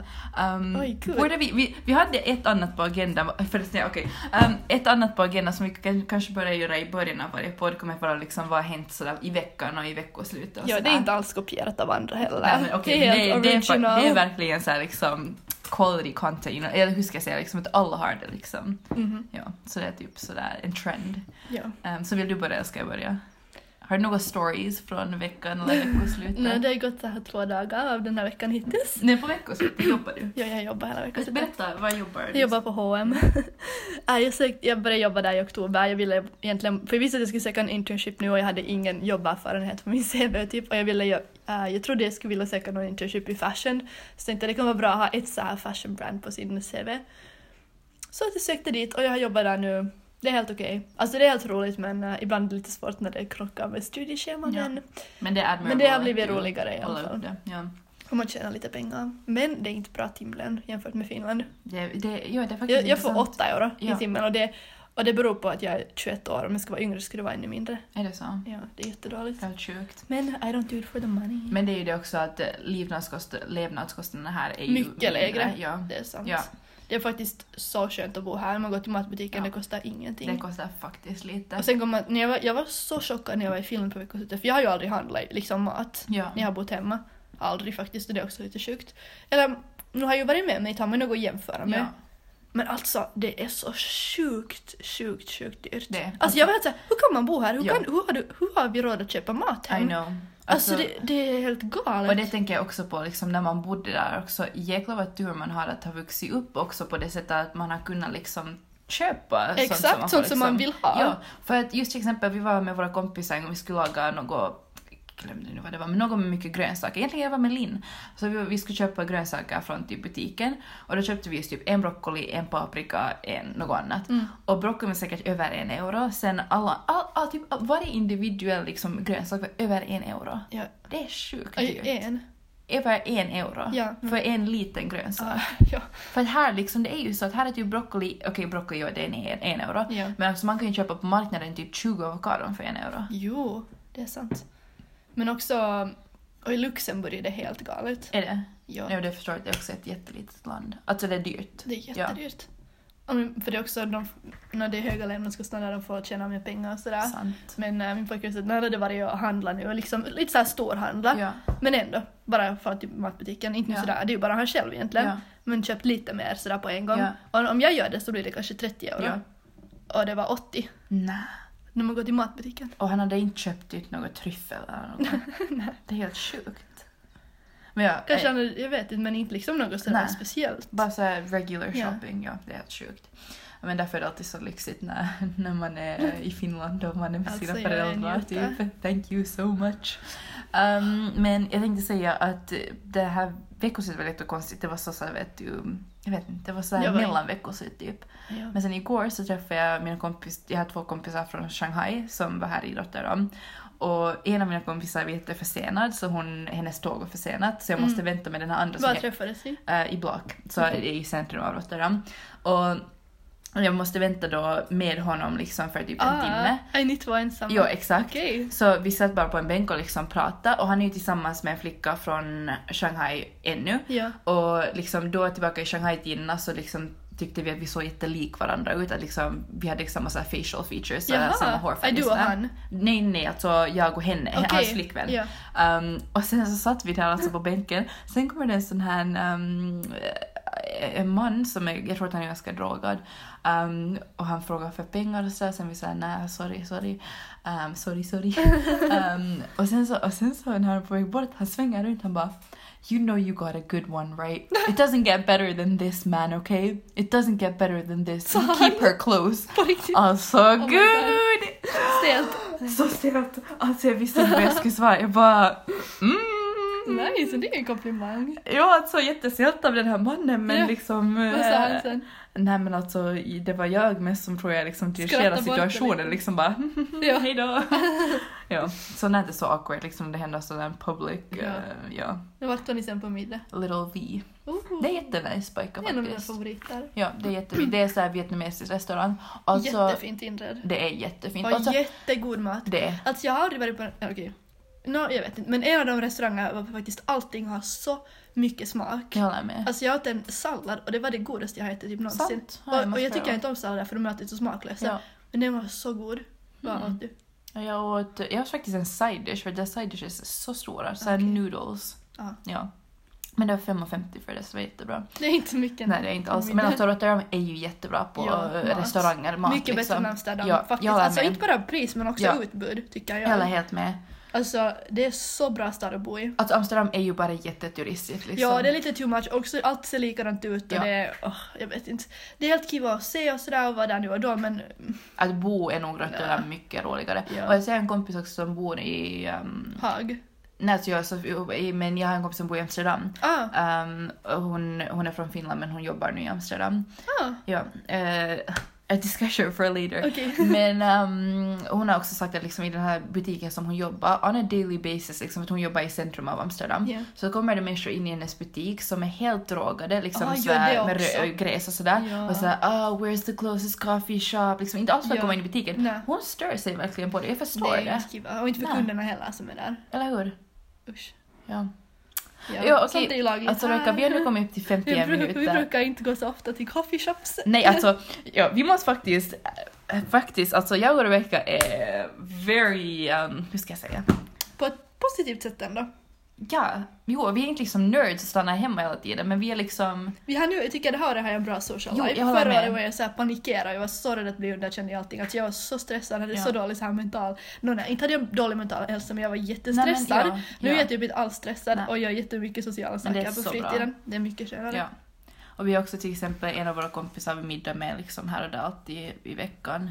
[SPEAKER 1] Um,
[SPEAKER 2] Oj, gud.
[SPEAKER 1] borde vi, vi, vi hade ett annat på agendan, förresten, ja, okej. Ehm, ett annat på agendan som vi kan- kanske börjar göra i början av varje podd kommer vara liksom vad har hänt sådär i veckan och i veckoslutet och
[SPEAKER 2] Ja, det
[SPEAKER 1] sådär.
[SPEAKER 2] är inte alls kopierat av andra heller.
[SPEAKER 1] Nej, men okej,
[SPEAKER 2] det är
[SPEAKER 1] det,
[SPEAKER 2] helt
[SPEAKER 1] det, är, fa-
[SPEAKER 2] original.
[SPEAKER 1] det är verkligen såhär liksom quality content, you know, eller hur ska jag säga, liksom att alla har det liksom.
[SPEAKER 2] Mhm,
[SPEAKER 1] Ja, så det är typ sådär en trend.
[SPEAKER 2] ja.
[SPEAKER 1] Ehm, så vill du börja, ska jag börja? Har du några stories från veckan eller veckoslutet?
[SPEAKER 2] Nej, det har ju gått så här två dagar av den här veckan hittills.
[SPEAKER 1] Nej, på veckoslutet jobbar du.
[SPEAKER 2] Ja, jag jobbar hela veckan.
[SPEAKER 1] Mm. typ Berätta, vad jobbar du?
[SPEAKER 2] Jag jobbar på H&M. Nej, jag, sökte, jag började jobba där i oktober. Jag ville egentligen, för jag visste att jag skulle söka en internship nu och jag hade ingen jobberfarenhet på min CV typ. Och jag, ville, jag, äh, jag trodde jag skulle vilja söka någon internship i fashion. Så tänkte jag det kan vara bra att ha ett så här fashion brand på sin CV. Så att jag sökte dit och jag har jobbat där nu. Det är helt okej. Alltså det är helt roligt men äh, ibland är det lite svårt när det krockar med studiescheman.
[SPEAKER 1] Ja.
[SPEAKER 2] Men
[SPEAKER 1] Men det är admirable.
[SPEAKER 2] Men det har blivit
[SPEAKER 1] att du
[SPEAKER 2] roligare i alla
[SPEAKER 1] håller upp
[SPEAKER 2] fall.
[SPEAKER 1] Det. Ja.
[SPEAKER 2] och man tjänar lite pengar. Men det är inte bra timlön jämfört med Finland.
[SPEAKER 1] Det, det, ja, det är faktiskt
[SPEAKER 2] Jag, jag får
[SPEAKER 1] intressant.
[SPEAKER 2] åtta euro
[SPEAKER 1] Ja.
[SPEAKER 2] i timmen och det, och det beror på att jag är 21 år. Om jag skulle vara yngre skulle det vara ännu mindre.
[SPEAKER 1] Är det så?
[SPEAKER 2] Ja, det är jättedåligt.
[SPEAKER 1] Helt sjukt.
[SPEAKER 2] Men I don't do it for the money.
[SPEAKER 1] Men det är ju det också att eh, livnadskost, levnadskostnaderna här är ju...
[SPEAKER 2] Mycket
[SPEAKER 1] mindre.
[SPEAKER 2] lägre.
[SPEAKER 1] Ja.
[SPEAKER 2] det är sant.
[SPEAKER 1] ja,
[SPEAKER 2] Det är faktiskt så skönt att bo här. Man går till matbutiken,
[SPEAKER 1] Ja.
[SPEAKER 2] det kostar ingenting.
[SPEAKER 1] det kostar faktiskt lite.
[SPEAKER 2] och sen går man, när jag, var, jag var så chockad när jag var i Finland på veckoslutet för jag har ju aldrig handlat liksom mat
[SPEAKER 1] ja.
[SPEAKER 2] när jag har bott hemma. Aldrig faktiskt och det är också lite sjukt. Eller nu har jag ju varit med mig, tar man något att jämföra med.
[SPEAKER 1] ja.
[SPEAKER 2] Men alltså det är så sjukt, sjukt, sjukt dyrt.
[SPEAKER 1] Det.
[SPEAKER 2] Alltså jag var helt såhär, hur kan man bo här? Hur,
[SPEAKER 1] Ja.
[SPEAKER 2] kan, hur, har, du, hur har vi råd att köpa mat
[SPEAKER 1] I
[SPEAKER 2] hem?
[SPEAKER 1] know.
[SPEAKER 2] Alltså, det, det är helt galet.
[SPEAKER 1] Och det typ tänker jag också på liksom, när man bodde där också. Jäklar vad tur man har att ha vuxit upp också på det sättet att man har kunnat liksom köpa sånt
[SPEAKER 2] Exakt
[SPEAKER 1] som man, får,
[SPEAKER 2] sånt som man
[SPEAKER 1] liksom.
[SPEAKER 2] vill ha.
[SPEAKER 1] Ja, för att just till exempel vi var med våra kompisar en gång, vi skulle laga något jag glömde nu vad det var, men något med mycket grönsaker. Egentligen jag var med Linn. Så vi, vi skulle köpa grönsaker från typ butiken och då köpte vi just typ en broccoli, en paprika, en något annat.
[SPEAKER 2] Mm.
[SPEAKER 1] Och broccolin var säkert över en euro. Sen alla, all, all, typ, varje individuell liksom grönsak var över en euro.
[SPEAKER 2] Ja.
[SPEAKER 1] Det är sjukt
[SPEAKER 2] Aj,
[SPEAKER 1] dyrt
[SPEAKER 2] en.
[SPEAKER 1] över en euro
[SPEAKER 2] Ja.
[SPEAKER 1] för en liten grönsak.
[SPEAKER 2] Ah, ja.
[SPEAKER 1] För att här liksom, det är ju så att här är typ broccoli, okej broccoli ja, det är en, en euro,
[SPEAKER 2] Ja.
[SPEAKER 1] men alltså man kan ju köpa på marknaden typ 20 avokadon för en euro.
[SPEAKER 2] Jo, det är sant. Men också, och i Luxemburg är det helt galet.
[SPEAKER 1] Är det?
[SPEAKER 2] Ja,
[SPEAKER 1] Ja. det förstår jag, det är också ett jättelitet land. Alltså det är dyrt.
[SPEAKER 2] det är jättedyrt. Ja. men För det är också, de, när det är höga levnadskostnader, de får tjäna mer pengar och sådär.
[SPEAKER 1] Sant.
[SPEAKER 2] Men äh, min pojkvän sa att när det var jag handlar nu, och liksom lite såhär storhandla.
[SPEAKER 1] Ja.
[SPEAKER 2] Men ändå, bara för att typ matbutiken, inte
[SPEAKER 1] Ja.
[SPEAKER 2] sådär, det är ju bara han själv egentligen.
[SPEAKER 1] Ja.
[SPEAKER 2] Men köpt lite mer sådär på en gång.
[SPEAKER 1] Ja.
[SPEAKER 2] Och om jag gör det så blir det kanske 30 euro.
[SPEAKER 1] Ja.
[SPEAKER 2] Och det var 80
[SPEAKER 1] Nej.
[SPEAKER 2] när man går till matbutiken.
[SPEAKER 1] Och han hade inte köpt ut något tryffel eller något. det är helt sjukt. Men ja,
[SPEAKER 2] Kanske
[SPEAKER 1] eh,
[SPEAKER 2] han, jag vet inte, men inte liksom något sådär
[SPEAKER 1] Nej.
[SPEAKER 2] speciellt.
[SPEAKER 1] bara så här regular
[SPEAKER 2] Ja.
[SPEAKER 1] shopping, ja. det är helt sjukt. Men därför är det alltid så lyxigt när, när man är i Finland och man är med
[SPEAKER 2] Alltså,
[SPEAKER 1] sina
[SPEAKER 2] jag är en
[SPEAKER 1] föräldrar.
[SPEAKER 2] njuta.
[SPEAKER 1] Typ. Thank you so much. Um, men jag tänkte säga att det här veckoslutet var lite konstigt. Det var så, så här, vet du, jag vet inte, det var så här
[SPEAKER 2] Jag var-
[SPEAKER 1] mellanveckoslut typ.
[SPEAKER 2] Ja.
[SPEAKER 1] Men sen igår så träffade jag mina kompis, jag har två kompisar från Shanghai som var här i Rotterdam. Och en av mina kompisar var jätteförsenad så hon, hennes tåg var försenat så jag måste
[SPEAKER 2] Mm.
[SPEAKER 1] vänta med den här andra som
[SPEAKER 2] Bara
[SPEAKER 1] jag-
[SPEAKER 2] träffades vi.
[SPEAKER 1] eh, i Blak, så är det i centrum av Rotterdam. Och jag måste vänta då med honom liksom för typ en
[SPEAKER 2] Ah,
[SPEAKER 1] timme.
[SPEAKER 2] nej, ni två ensamma.
[SPEAKER 1] Jo, exakt.
[SPEAKER 2] Okej.
[SPEAKER 1] Så vi satt bara på en bänk och liksom pratade och han är ju tillsammans med en flicka från Shanghai ännu.
[SPEAKER 2] Ja.
[SPEAKER 1] Och liksom då tillbaka i Shanghai-tiderna så liksom tyckte vi att vi såg jättelik varandra ut, att liksom, vi hade samma så här facial features, så här
[SPEAKER 2] Jaha,
[SPEAKER 1] samma hårfärg.
[SPEAKER 2] är du och
[SPEAKER 1] så här.
[SPEAKER 2] han?
[SPEAKER 1] Nej, nej, alltså jag och henne,
[SPEAKER 2] Okej,
[SPEAKER 1] hans flickvän.
[SPEAKER 2] ja.
[SPEAKER 1] Ehm, Um, och sen så satt vi där alltså på bänken, sen kommer det en sån här um, en man som är, jag tror att han är ganska drogad ehm, och han frågar för pengar och sådär, sen vi säger nej, sorry, sorry, Ehm, sorry, sorry. Ehm, och, sen så, och sen så när han är på väg bort, han svänger runt, han bara You know you got a good one right? It doesn't get better than this man okay? It doesn't get better than this, you
[SPEAKER 2] Sa
[SPEAKER 1] keep her close.
[SPEAKER 2] På riktigt.
[SPEAKER 1] Alltså
[SPEAKER 2] Oh my God.
[SPEAKER 1] gud!
[SPEAKER 2] Stelt.
[SPEAKER 1] Så stelt! Alltså jag visste inte vad jag skulle svara. Jag bara... Mm.
[SPEAKER 2] Nice, det är en komplimang.
[SPEAKER 1] Ja, alltså jättestelt av den här mannen men
[SPEAKER 2] Ja.
[SPEAKER 1] liksom...
[SPEAKER 2] Vad sa han sen?
[SPEAKER 1] Nej men alltså i- det var jag mest som tror jag liksom dirigerade
[SPEAKER 2] Skratta bort det
[SPEAKER 1] situationen
[SPEAKER 2] lite.
[SPEAKER 1] liksom bara
[SPEAKER 2] Ja.
[SPEAKER 1] hej då. ja, så när det är så awkward liksom det händer sådär public, ja.
[SPEAKER 2] Ja.
[SPEAKER 1] ja.
[SPEAKER 2] Nu vart var ni sen på middag?
[SPEAKER 1] Little V.
[SPEAKER 2] Oh,
[SPEAKER 1] Det är jättenice pojkar
[SPEAKER 2] det är en av mina
[SPEAKER 1] faktiskt.
[SPEAKER 2] favoriter.
[SPEAKER 1] Ja, det är jättefint. Det är såhär vietnamesisk restaurang. Alltså,
[SPEAKER 2] Jättefint inredd.
[SPEAKER 1] Det är jättefint.
[SPEAKER 2] Och
[SPEAKER 1] Alltså,
[SPEAKER 2] jättegod mat.
[SPEAKER 1] det är
[SPEAKER 2] Alltså jag har aldrig varit på en... Okej. Nå, jag vet inte. Men en av de restauranger var faktiskt allting har så mycket smak.
[SPEAKER 1] Jag håller med.
[SPEAKER 2] Alltså jag åt en sallad och det var det godaste jag har ätit typ någonsin.
[SPEAKER 1] Sant. Ja, det
[SPEAKER 2] Och, och
[SPEAKER 1] måste
[SPEAKER 2] jag tycker
[SPEAKER 1] vara.
[SPEAKER 2] inte om sallader för de är alltid så smaklösa.
[SPEAKER 1] Ja.
[SPEAKER 2] Men den var så god. Vad
[SPEAKER 1] Mm.
[SPEAKER 2] åt du?
[SPEAKER 1] Och Jag åt, jag åt faktiskt en side dish för deras side dishes är så stora. Såhär
[SPEAKER 2] Okej.
[SPEAKER 1] noodles.
[SPEAKER 2] Ja.
[SPEAKER 1] Ja. Men det var 5,50 för det så det var jättebra.
[SPEAKER 2] Det är inte mycket.
[SPEAKER 1] Nej det är inte alls.
[SPEAKER 2] Middag.
[SPEAKER 1] Men alltså Rotterdam är ju jättebra på
[SPEAKER 2] Ja,
[SPEAKER 1] eh,
[SPEAKER 2] mat.
[SPEAKER 1] restauranger, mat
[SPEAKER 2] mycket bättre
[SPEAKER 1] liksom.
[SPEAKER 2] än Amsterdam
[SPEAKER 1] Ja,
[SPEAKER 2] faktiskt.
[SPEAKER 1] jag håller
[SPEAKER 2] Alltså
[SPEAKER 1] med.
[SPEAKER 2] inte bara pris men också
[SPEAKER 1] Ja.
[SPEAKER 2] utbud tycker
[SPEAKER 1] Jag håller
[SPEAKER 2] jag.
[SPEAKER 1] helt med.
[SPEAKER 2] Alltså det är så bra stad att bo i.
[SPEAKER 1] Alltså Amsterdam är ju bara jätteturistigt liksom.
[SPEAKER 2] Ja, det är lite too much. Också, allt ser likadant ut och
[SPEAKER 1] Ja.
[SPEAKER 2] det är, åh, jag vet inte. Det är helt kiva att se och sådär och vara där nu och då men
[SPEAKER 1] Att bo är nog Rotterdam
[SPEAKER 2] Ja.
[SPEAKER 1] mycket roligare.
[SPEAKER 2] Ja.
[SPEAKER 1] Och jag ser en kompis också som bor i... Um,
[SPEAKER 2] Haag.
[SPEAKER 1] nej alltså jag, så, i- men jag har en kompis som bor i Amsterdam.
[SPEAKER 2] Ah,
[SPEAKER 1] Um, och hon, hon är från Finland men hon jobbar nu i Amsterdam.
[SPEAKER 2] ah,
[SPEAKER 1] Ja, eh, a discussion for later.
[SPEAKER 2] okej.
[SPEAKER 1] Men ehm, hon har också sagt att liksom, i den här butiken som hon jobbar, on a daily basis, liksom, att hon jobbar i centrum av Amsterdam,
[SPEAKER 2] Ja.
[SPEAKER 1] så kommer det människor in i hennes butik som är helt drogade liksom,
[SPEAKER 2] Ah, ja,
[SPEAKER 1] såhär,
[SPEAKER 2] det
[SPEAKER 1] med
[SPEAKER 2] också.
[SPEAKER 1] rö- gräs och sådär.
[SPEAKER 2] Ja.
[SPEAKER 1] Och såhär ah “Where's the closest coffee shop?” liksom, Inte alls för att
[SPEAKER 2] Ja.
[SPEAKER 1] komma in i butiken.
[SPEAKER 2] Nej.
[SPEAKER 1] Hon stör sig verkligen på det, jag
[SPEAKER 2] Det
[SPEAKER 1] förstår
[SPEAKER 2] är
[SPEAKER 1] det.
[SPEAKER 2] inte kiva. Och inte för
[SPEAKER 1] Nej.
[SPEAKER 2] kunderna heller som är där.
[SPEAKER 1] Eller hur?
[SPEAKER 2] Usch.
[SPEAKER 1] Ja.
[SPEAKER 2] Ja,
[SPEAKER 1] Ja, okej.
[SPEAKER 2] Sånt är ju lagligt
[SPEAKER 1] Alltså Rebecca,
[SPEAKER 2] här.
[SPEAKER 1] vi har nu kommit upp till
[SPEAKER 2] vi,
[SPEAKER 1] 51
[SPEAKER 2] bru- vi
[SPEAKER 1] minuter.
[SPEAKER 2] brukar inte gå så ofta till coffeeshops.
[SPEAKER 1] Nej alltså, ja, vi måste faktiskt, äh, faktiskt, alltså jag och Rebecca är very, um, hur ska jag säga?
[SPEAKER 2] På ett positivt sätt ändå.
[SPEAKER 1] Ja, jo, vi är inte liksom nerds och stannar hemma hela tiden, men vi är liksom...
[SPEAKER 2] Vi har nu, jag tycker det här är en bra social
[SPEAKER 1] Jo,
[SPEAKER 2] life.
[SPEAKER 1] jag håller
[SPEAKER 2] Förra
[SPEAKER 1] med.
[SPEAKER 2] året var jag så här panikerad, jag var så rädd att bli underkänd i allting. Alltså jag var så stressad, jag hade
[SPEAKER 1] Ja.
[SPEAKER 2] så dålig så här mental... Nå, nej, inte hade jag dålig mental hälsa men jag var jättestressad.
[SPEAKER 1] Nej, men, ja,
[SPEAKER 2] Nu
[SPEAKER 1] ja,
[SPEAKER 2] är jag typ inte alls stressad
[SPEAKER 1] Nej.
[SPEAKER 2] och jag gör jättemycket sociala saker
[SPEAKER 1] det är
[SPEAKER 2] på
[SPEAKER 1] så bra.
[SPEAKER 2] fritiden. Det är mycket skönare.
[SPEAKER 1] ja. Och vi har också till exempel en av våra kompisar vi middag med liksom här och där alltid i veckan.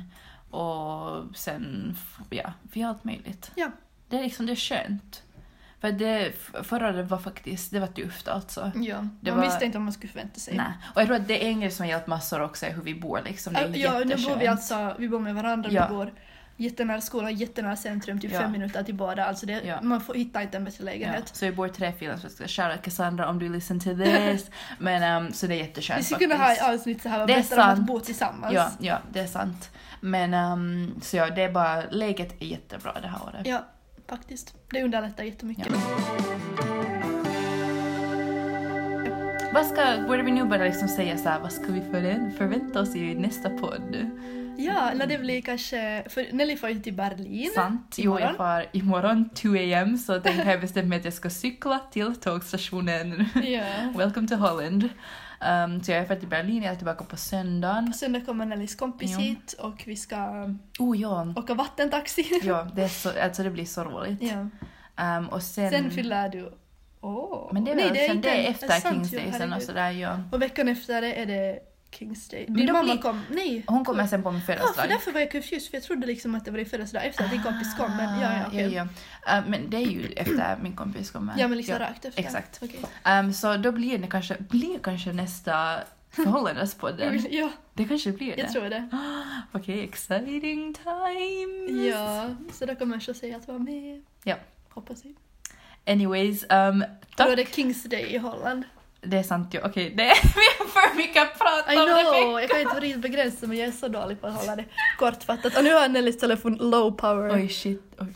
[SPEAKER 1] Och sen, ja, vi har allt möjligt.
[SPEAKER 2] Ja.
[SPEAKER 1] Det är liksom, det är skönt. För det, förra året var faktiskt, det var tufft alltså.
[SPEAKER 2] Ja,
[SPEAKER 1] Det
[SPEAKER 2] man
[SPEAKER 1] var-
[SPEAKER 2] visste inte vad man skulle förvänta sig.
[SPEAKER 1] Nej. Och jag tror att det är en grej som har hjälpt massor också är hur vi bor liksom. Det är
[SPEAKER 2] Äh, Ja, nu bor vi
[SPEAKER 1] jätteskönt.
[SPEAKER 2] alltså, vi bor med varandra,
[SPEAKER 1] Ja.
[SPEAKER 2] vi bor jättenära skolan, jättenära centrum, typ
[SPEAKER 1] Ja.
[SPEAKER 2] fem minuter till båda. Alltså det,
[SPEAKER 1] Ja.
[SPEAKER 2] man får hitta inte en bättre
[SPEAKER 1] Ja,
[SPEAKER 2] lägenhet.
[SPEAKER 1] så vi bor tre finlandssvenskar. Shoutout Cassandra om du listen to this. Men ehm, så det är jätteskönt
[SPEAKER 2] Vi skulle kunna ha ett
[SPEAKER 1] faktiskt.
[SPEAKER 2] avsnitt så här, vad
[SPEAKER 1] Det är
[SPEAKER 2] berättar om att
[SPEAKER 1] sant.
[SPEAKER 2] bo tillsammans.
[SPEAKER 1] Ja, ja, det är sant. Men ehm, så ja, det är bara, läget är jättebra det här året.
[SPEAKER 2] Ja, faktiskt. Det underlättar jättemycket.
[SPEAKER 1] Vad ska, borde vi nu börja liksom säga så här, vad ska vi förvä- förvänta oss i nästa podd?
[SPEAKER 2] Ja, eller det blir kanske... För Nelly får ju till Berlin.
[SPEAKER 1] Sant. Jo, jag
[SPEAKER 2] Imorgon.
[SPEAKER 1] far imorgon 2 am så tänker jag bestämma mig att jag ska cykla till tågstationen.
[SPEAKER 2] Ja.
[SPEAKER 1] Welcome to Holland. Ehm, så jag är färdig till Berlin, jag är tillbaka på söndagen.
[SPEAKER 2] Och sen kommer Nellys kompis
[SPEAKER 1] Jo.
[SPEAKER 2] hit och vi ska
[SPEAKER 1] Oh ja.
[SPEAKER 2] åka vattentaxi.
[SPEAKER 1] Ja, det, är så, alltså det blir så roligt.
[SPEAKER 2] Ja.
[SPEAKER 1] Ehm, och sen...
[SPEAKER 2] Sen fyller du... Åh!
[SPEAKER 1] Men det är,
[SPEAKER 2] Nej,
[SPEAKER 1] väl sen,
[SPEAKER 2] inte
[SPEAKER 1] det
[SPEAKER 2] än.
[SPEAKER 1] är efter
[SPEAKER 2] sant,
[SPEAKER 1] Kings
[SPEAKER 2] jo,
[SPEAKER 1] Day sen och
[SPEAKER 2] herregud.
[SPEAKER 1] sådär. Ja.
[SPEAKER 2] Och veckan efter det är det Kings Day.
[SPEAKER 1] Men
[SPEAKER 2] Din
[SPEAKER 1] då
[SPEAKER 2] mamma
[SPEAKER 1] blir-
[SPEAKER 2] kom... Nej!
[SPEAKER 1] Hon kommer sen på min
[SPEAKER 2] Ja, för
[SPEAKER 1] födelsedag.
[SPEAKER 2] därför var jag confused för jag trodde liksom att det var din födelsedag efter att din kompis kom men ja, ja, okej.
[SPEAKER 1] Ah, ja, ja. Eh, men det är ju efter min kompis kommer.
[SPEAKER 2] Ja, men liksom rakt efter.
[SPEAKER 1] exakt.
[SPEAKER 2] Okej.
[SPEAKER 1] Ehm, så då blir det kanske, blir kanske nästa förhållandespodden.
[SPEAKER 2] Ja,
[SPEAKER 1] Det kanske blir det.
[SPEAKER 2] jag tror det.
[SPEAKER 1] Okej, exciting times!
[SPEAKER 2] Ja, så då kommer José att vara med.
[SPEAKER 1] Ja.
[SPEAKER 2] Hoppas jag.
[SPEAKER 1] Anyways, ehm,
[SPEAKER 2] Då
[SPEAKER 1] tack.
[SPEAKER 2] är det Kings Day i Holland.
[SPEAKER 1] Det är sant ju. Okej, det vi har för mycket att prata
[SPEAKER 2] I
[SPEAKER 1] om. det.
[SPEAKER 2] know! Jag kan inte riktigt begränsa men jag är så dålig på att hålla det kortfattat. Och nu har Nellys telefon low power.
[SPEAKER 1] Oj, shit. Oj.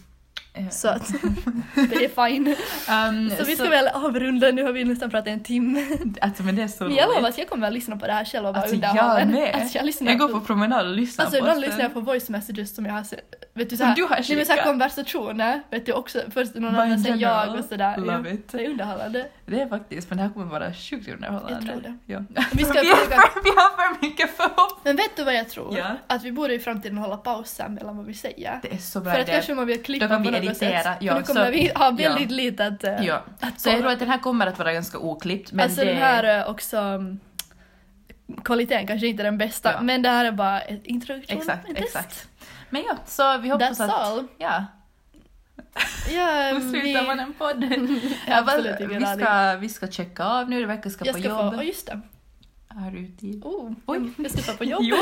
[SPEAKER 1] Eh,
[SPEAKER 2] Så att det är fine.
[SPEAKER 1] ehm,
[SPEAKER 2] Så vi ska väl avrunda, nu har vi nästan pratat en timme.
[SPEAKER 1] Alltså men det är så
[SPEAKER 2] Men jag lovar att jag kommer att lyssna på det här själv och vara
[SPEAKER 1] Alltså,
[SPEAKER 2] underhållen.
[SPEAKER 1] jag med.
[SPEAKER 2] Alltså jag lyssnar
[SPEAKER 1] Jag går på promenad och lyssnar
[SPEAKER 2] Alltså
[SPEAKER 1] på oss
[SPEAKER 2] ibland
[SPEAKER 1] sen.
[SPEAKER 2] lyssnar jag på voice messages som jag har se- vet du,
[SPEAKER 1] Och
[SPEAKER 2] såhär,
[SPEAKER 1] du har
[SPEAKER 2] nej, men såhär
[SPEAKER 1] kyrka.
[SPEAKER 2] konversationer, vet du också, först någon
[SPEAKER 1] Bara
[SPEAKER 2] annan,
[SPEAKER 1] in
[SPEAKER 2] sen
[SPEAKER 1] general.
[SPEAKER 2] jag och sådär.
[SPEAKER 1] Love
[SPEAKER 2] ja.
[SPEAKER 1] it.
[SPEAKER 2] Det är underhållande.
[SPEAKER 1] Det är faktiskt, men det här kommer vara sjukt underhållande.
[SPEAKER 2] Jag tror det.
[SPEAKER 1] Ja.
[SPEAKER 2] Vi ska
[SPEAKER 1] vi, har
[SPEAKER 2] försöka...
[SPEAKER 1] för, vi har för mycket förhoppningar.
[SPEAKER 2] Men vet du vad jag tror?
[SPEAKER 1] Ja.
[SPEAKER 2] Att vi borde i framtiden hålla pauser mellan vad vi säger.
[SPEAKER 1] Det är så bra
[SPEAKER 2] För att
[SPEAKER 1] idé.
[SPEAKER 2] kanske man vill klippa
[SPEAKER 1] Då kan
[SPEAKER 2] på
[SPEAKER 1] vi
[SPEAKER 2] något
[SPEAKER 1] editera,
[SPEAKER 2] sätt.
[SPEAKER 1] ja,
[SPEAKER 2] för nu kommer
[SPEAKER 1] så-
[SPEAKER 2] vi ha
[SPEAKER 1] ja.
[SPEAKER 2] väldigt lite att, eh,
[SPEAKER 1] Ja.
[SPEAKER 2] att
[SPEAKER 1] Så jag tror
[SPEAKER 2] kolla.
[SPEAKER 1] att den här kommer att vara ganska oklippt. Men
[SPEAKER 2] alltså
[SPEAKER 1] det...
[SPEAKER 2] den här eh, också... mm, Kvaliteten kanske inte är den bästa,
[SPEAKER 1] Ja.
[SPEAKER 2] men det här är bara en introduktion.
[SPEAKER 1] Exakt,
[SPEAKER 2] en
[SPEAKER 1] exakt. Men ja, så vi hoppas
[SPEAKER 2] That's
[SPEAKER 1] att...
[SPEAKER 2] all.
[SPEAKER 1] Ja,
[SPEAKER 2] Ja,
[SPEAKER 1] då slutar man
[SPEAKER 2] vi...
[SPEAKER 1] en podd.
[SPEAKER 2] Jag har
[SPEAKER 1] Ja,
[SPEAKER 2] absolut
[SPEAKER 1] vad-
[SPEAKER 2] ingen
[SPEAKER 1] vi,
[SPEAKER 2] aning.
[SPEAKER 1] ska, vi ska checka av nu, Rebecka ska
[SPEAKER 2] Jag
[SPEAKER 1] på
[SPEAKER 2] ska få...
[SPEAKER 1] jobb.
[SPEAKER 2] Åh, just det.
[SPEAKER 1] Har du tid?
[SPEAKER 2] Oh,
[SPEAKER 1] Oj.
[SPEAKER 2] Jag ska få på jobb.
[SPEAKER 1] Jo,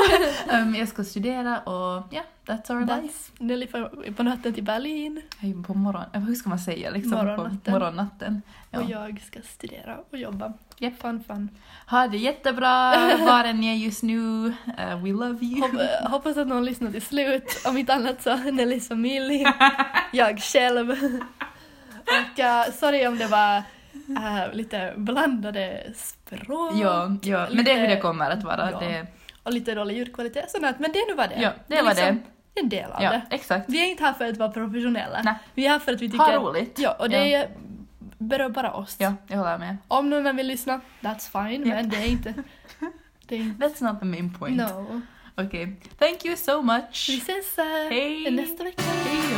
[SPEAKER 1] Ehm, jag ska studera och ja, that's our
[SPEAKER 2] That's-
[SPEAKER 1] life.
[SPEAKER 2] Nelly får på natten till Berlin
[SPEAKER 1] Hej, På morgon, eh, hur ska man säga liksom? På
[SPEAKER 2] Morgonnatten.
[SPEAKER 1] morgonnatten. Ja.
[SPEAKER 2] och jag ska studera och jobba.
[SPEAKER 1] Japp.
[SPEAKER 2] Fun, fun.
[SPEAKER 1] Ha det jättebra var än ni är just nu. Eh, we love you.
[SPEAKER 2] Hop- eh, hoppas att någon lyssnar till slut. Om inte annat så Nellys familj, jag själv. Och eh, sorry om det var eh, lite blandade språk
[SPEAKER 1] Ja, ja, men det är hur det kommer att vara.
[SPEAKER 2] Ja.
[SPEAKER 1] Det,
[SPEAKER 2] och lite dålig ljudkvalitet. och Sånt. där. Men det är nu var det.
[SPEAKER 1] ja, det
[SPEAKER 2] är
[SPEAKER 1] var
[SPEAKER 2] liksom
[SPEAKER 1] det.
[SPEAKER 2] en del av
[SPEAKER 1] Ja,
[SPEAKER 2] det.
[SPEAKER 1] exakt.
[SPEAKER 2] Vi är inte här för att vara professionella.
[SPEAKER 1] Nej.
[SPEAKER 2] Vi är här för att vi tycker...
[SPEAKER 1] Ha roligt.
[SPEAKER 2] Ja, och det berör bara oss.
[SPEAKER 1] Ja, jag håller med.
[SPEAKER 2] Om någon annan vill lyssna, that's fine,
[SPEAKER 1] Ja.
[SPEAKER 2] men det är inte... Det är inte...
[SPEAKER 1] That's not the main point.
[SPEAKER 2] No.
[SPEAKER 1] Okej. Thank you so much.
[SPEAKER 2] Vi ses eh,
[SPEAKER 1] Hej.
[SPEAKER 2] nästa vecka.
[SPEAKER 1] Hej.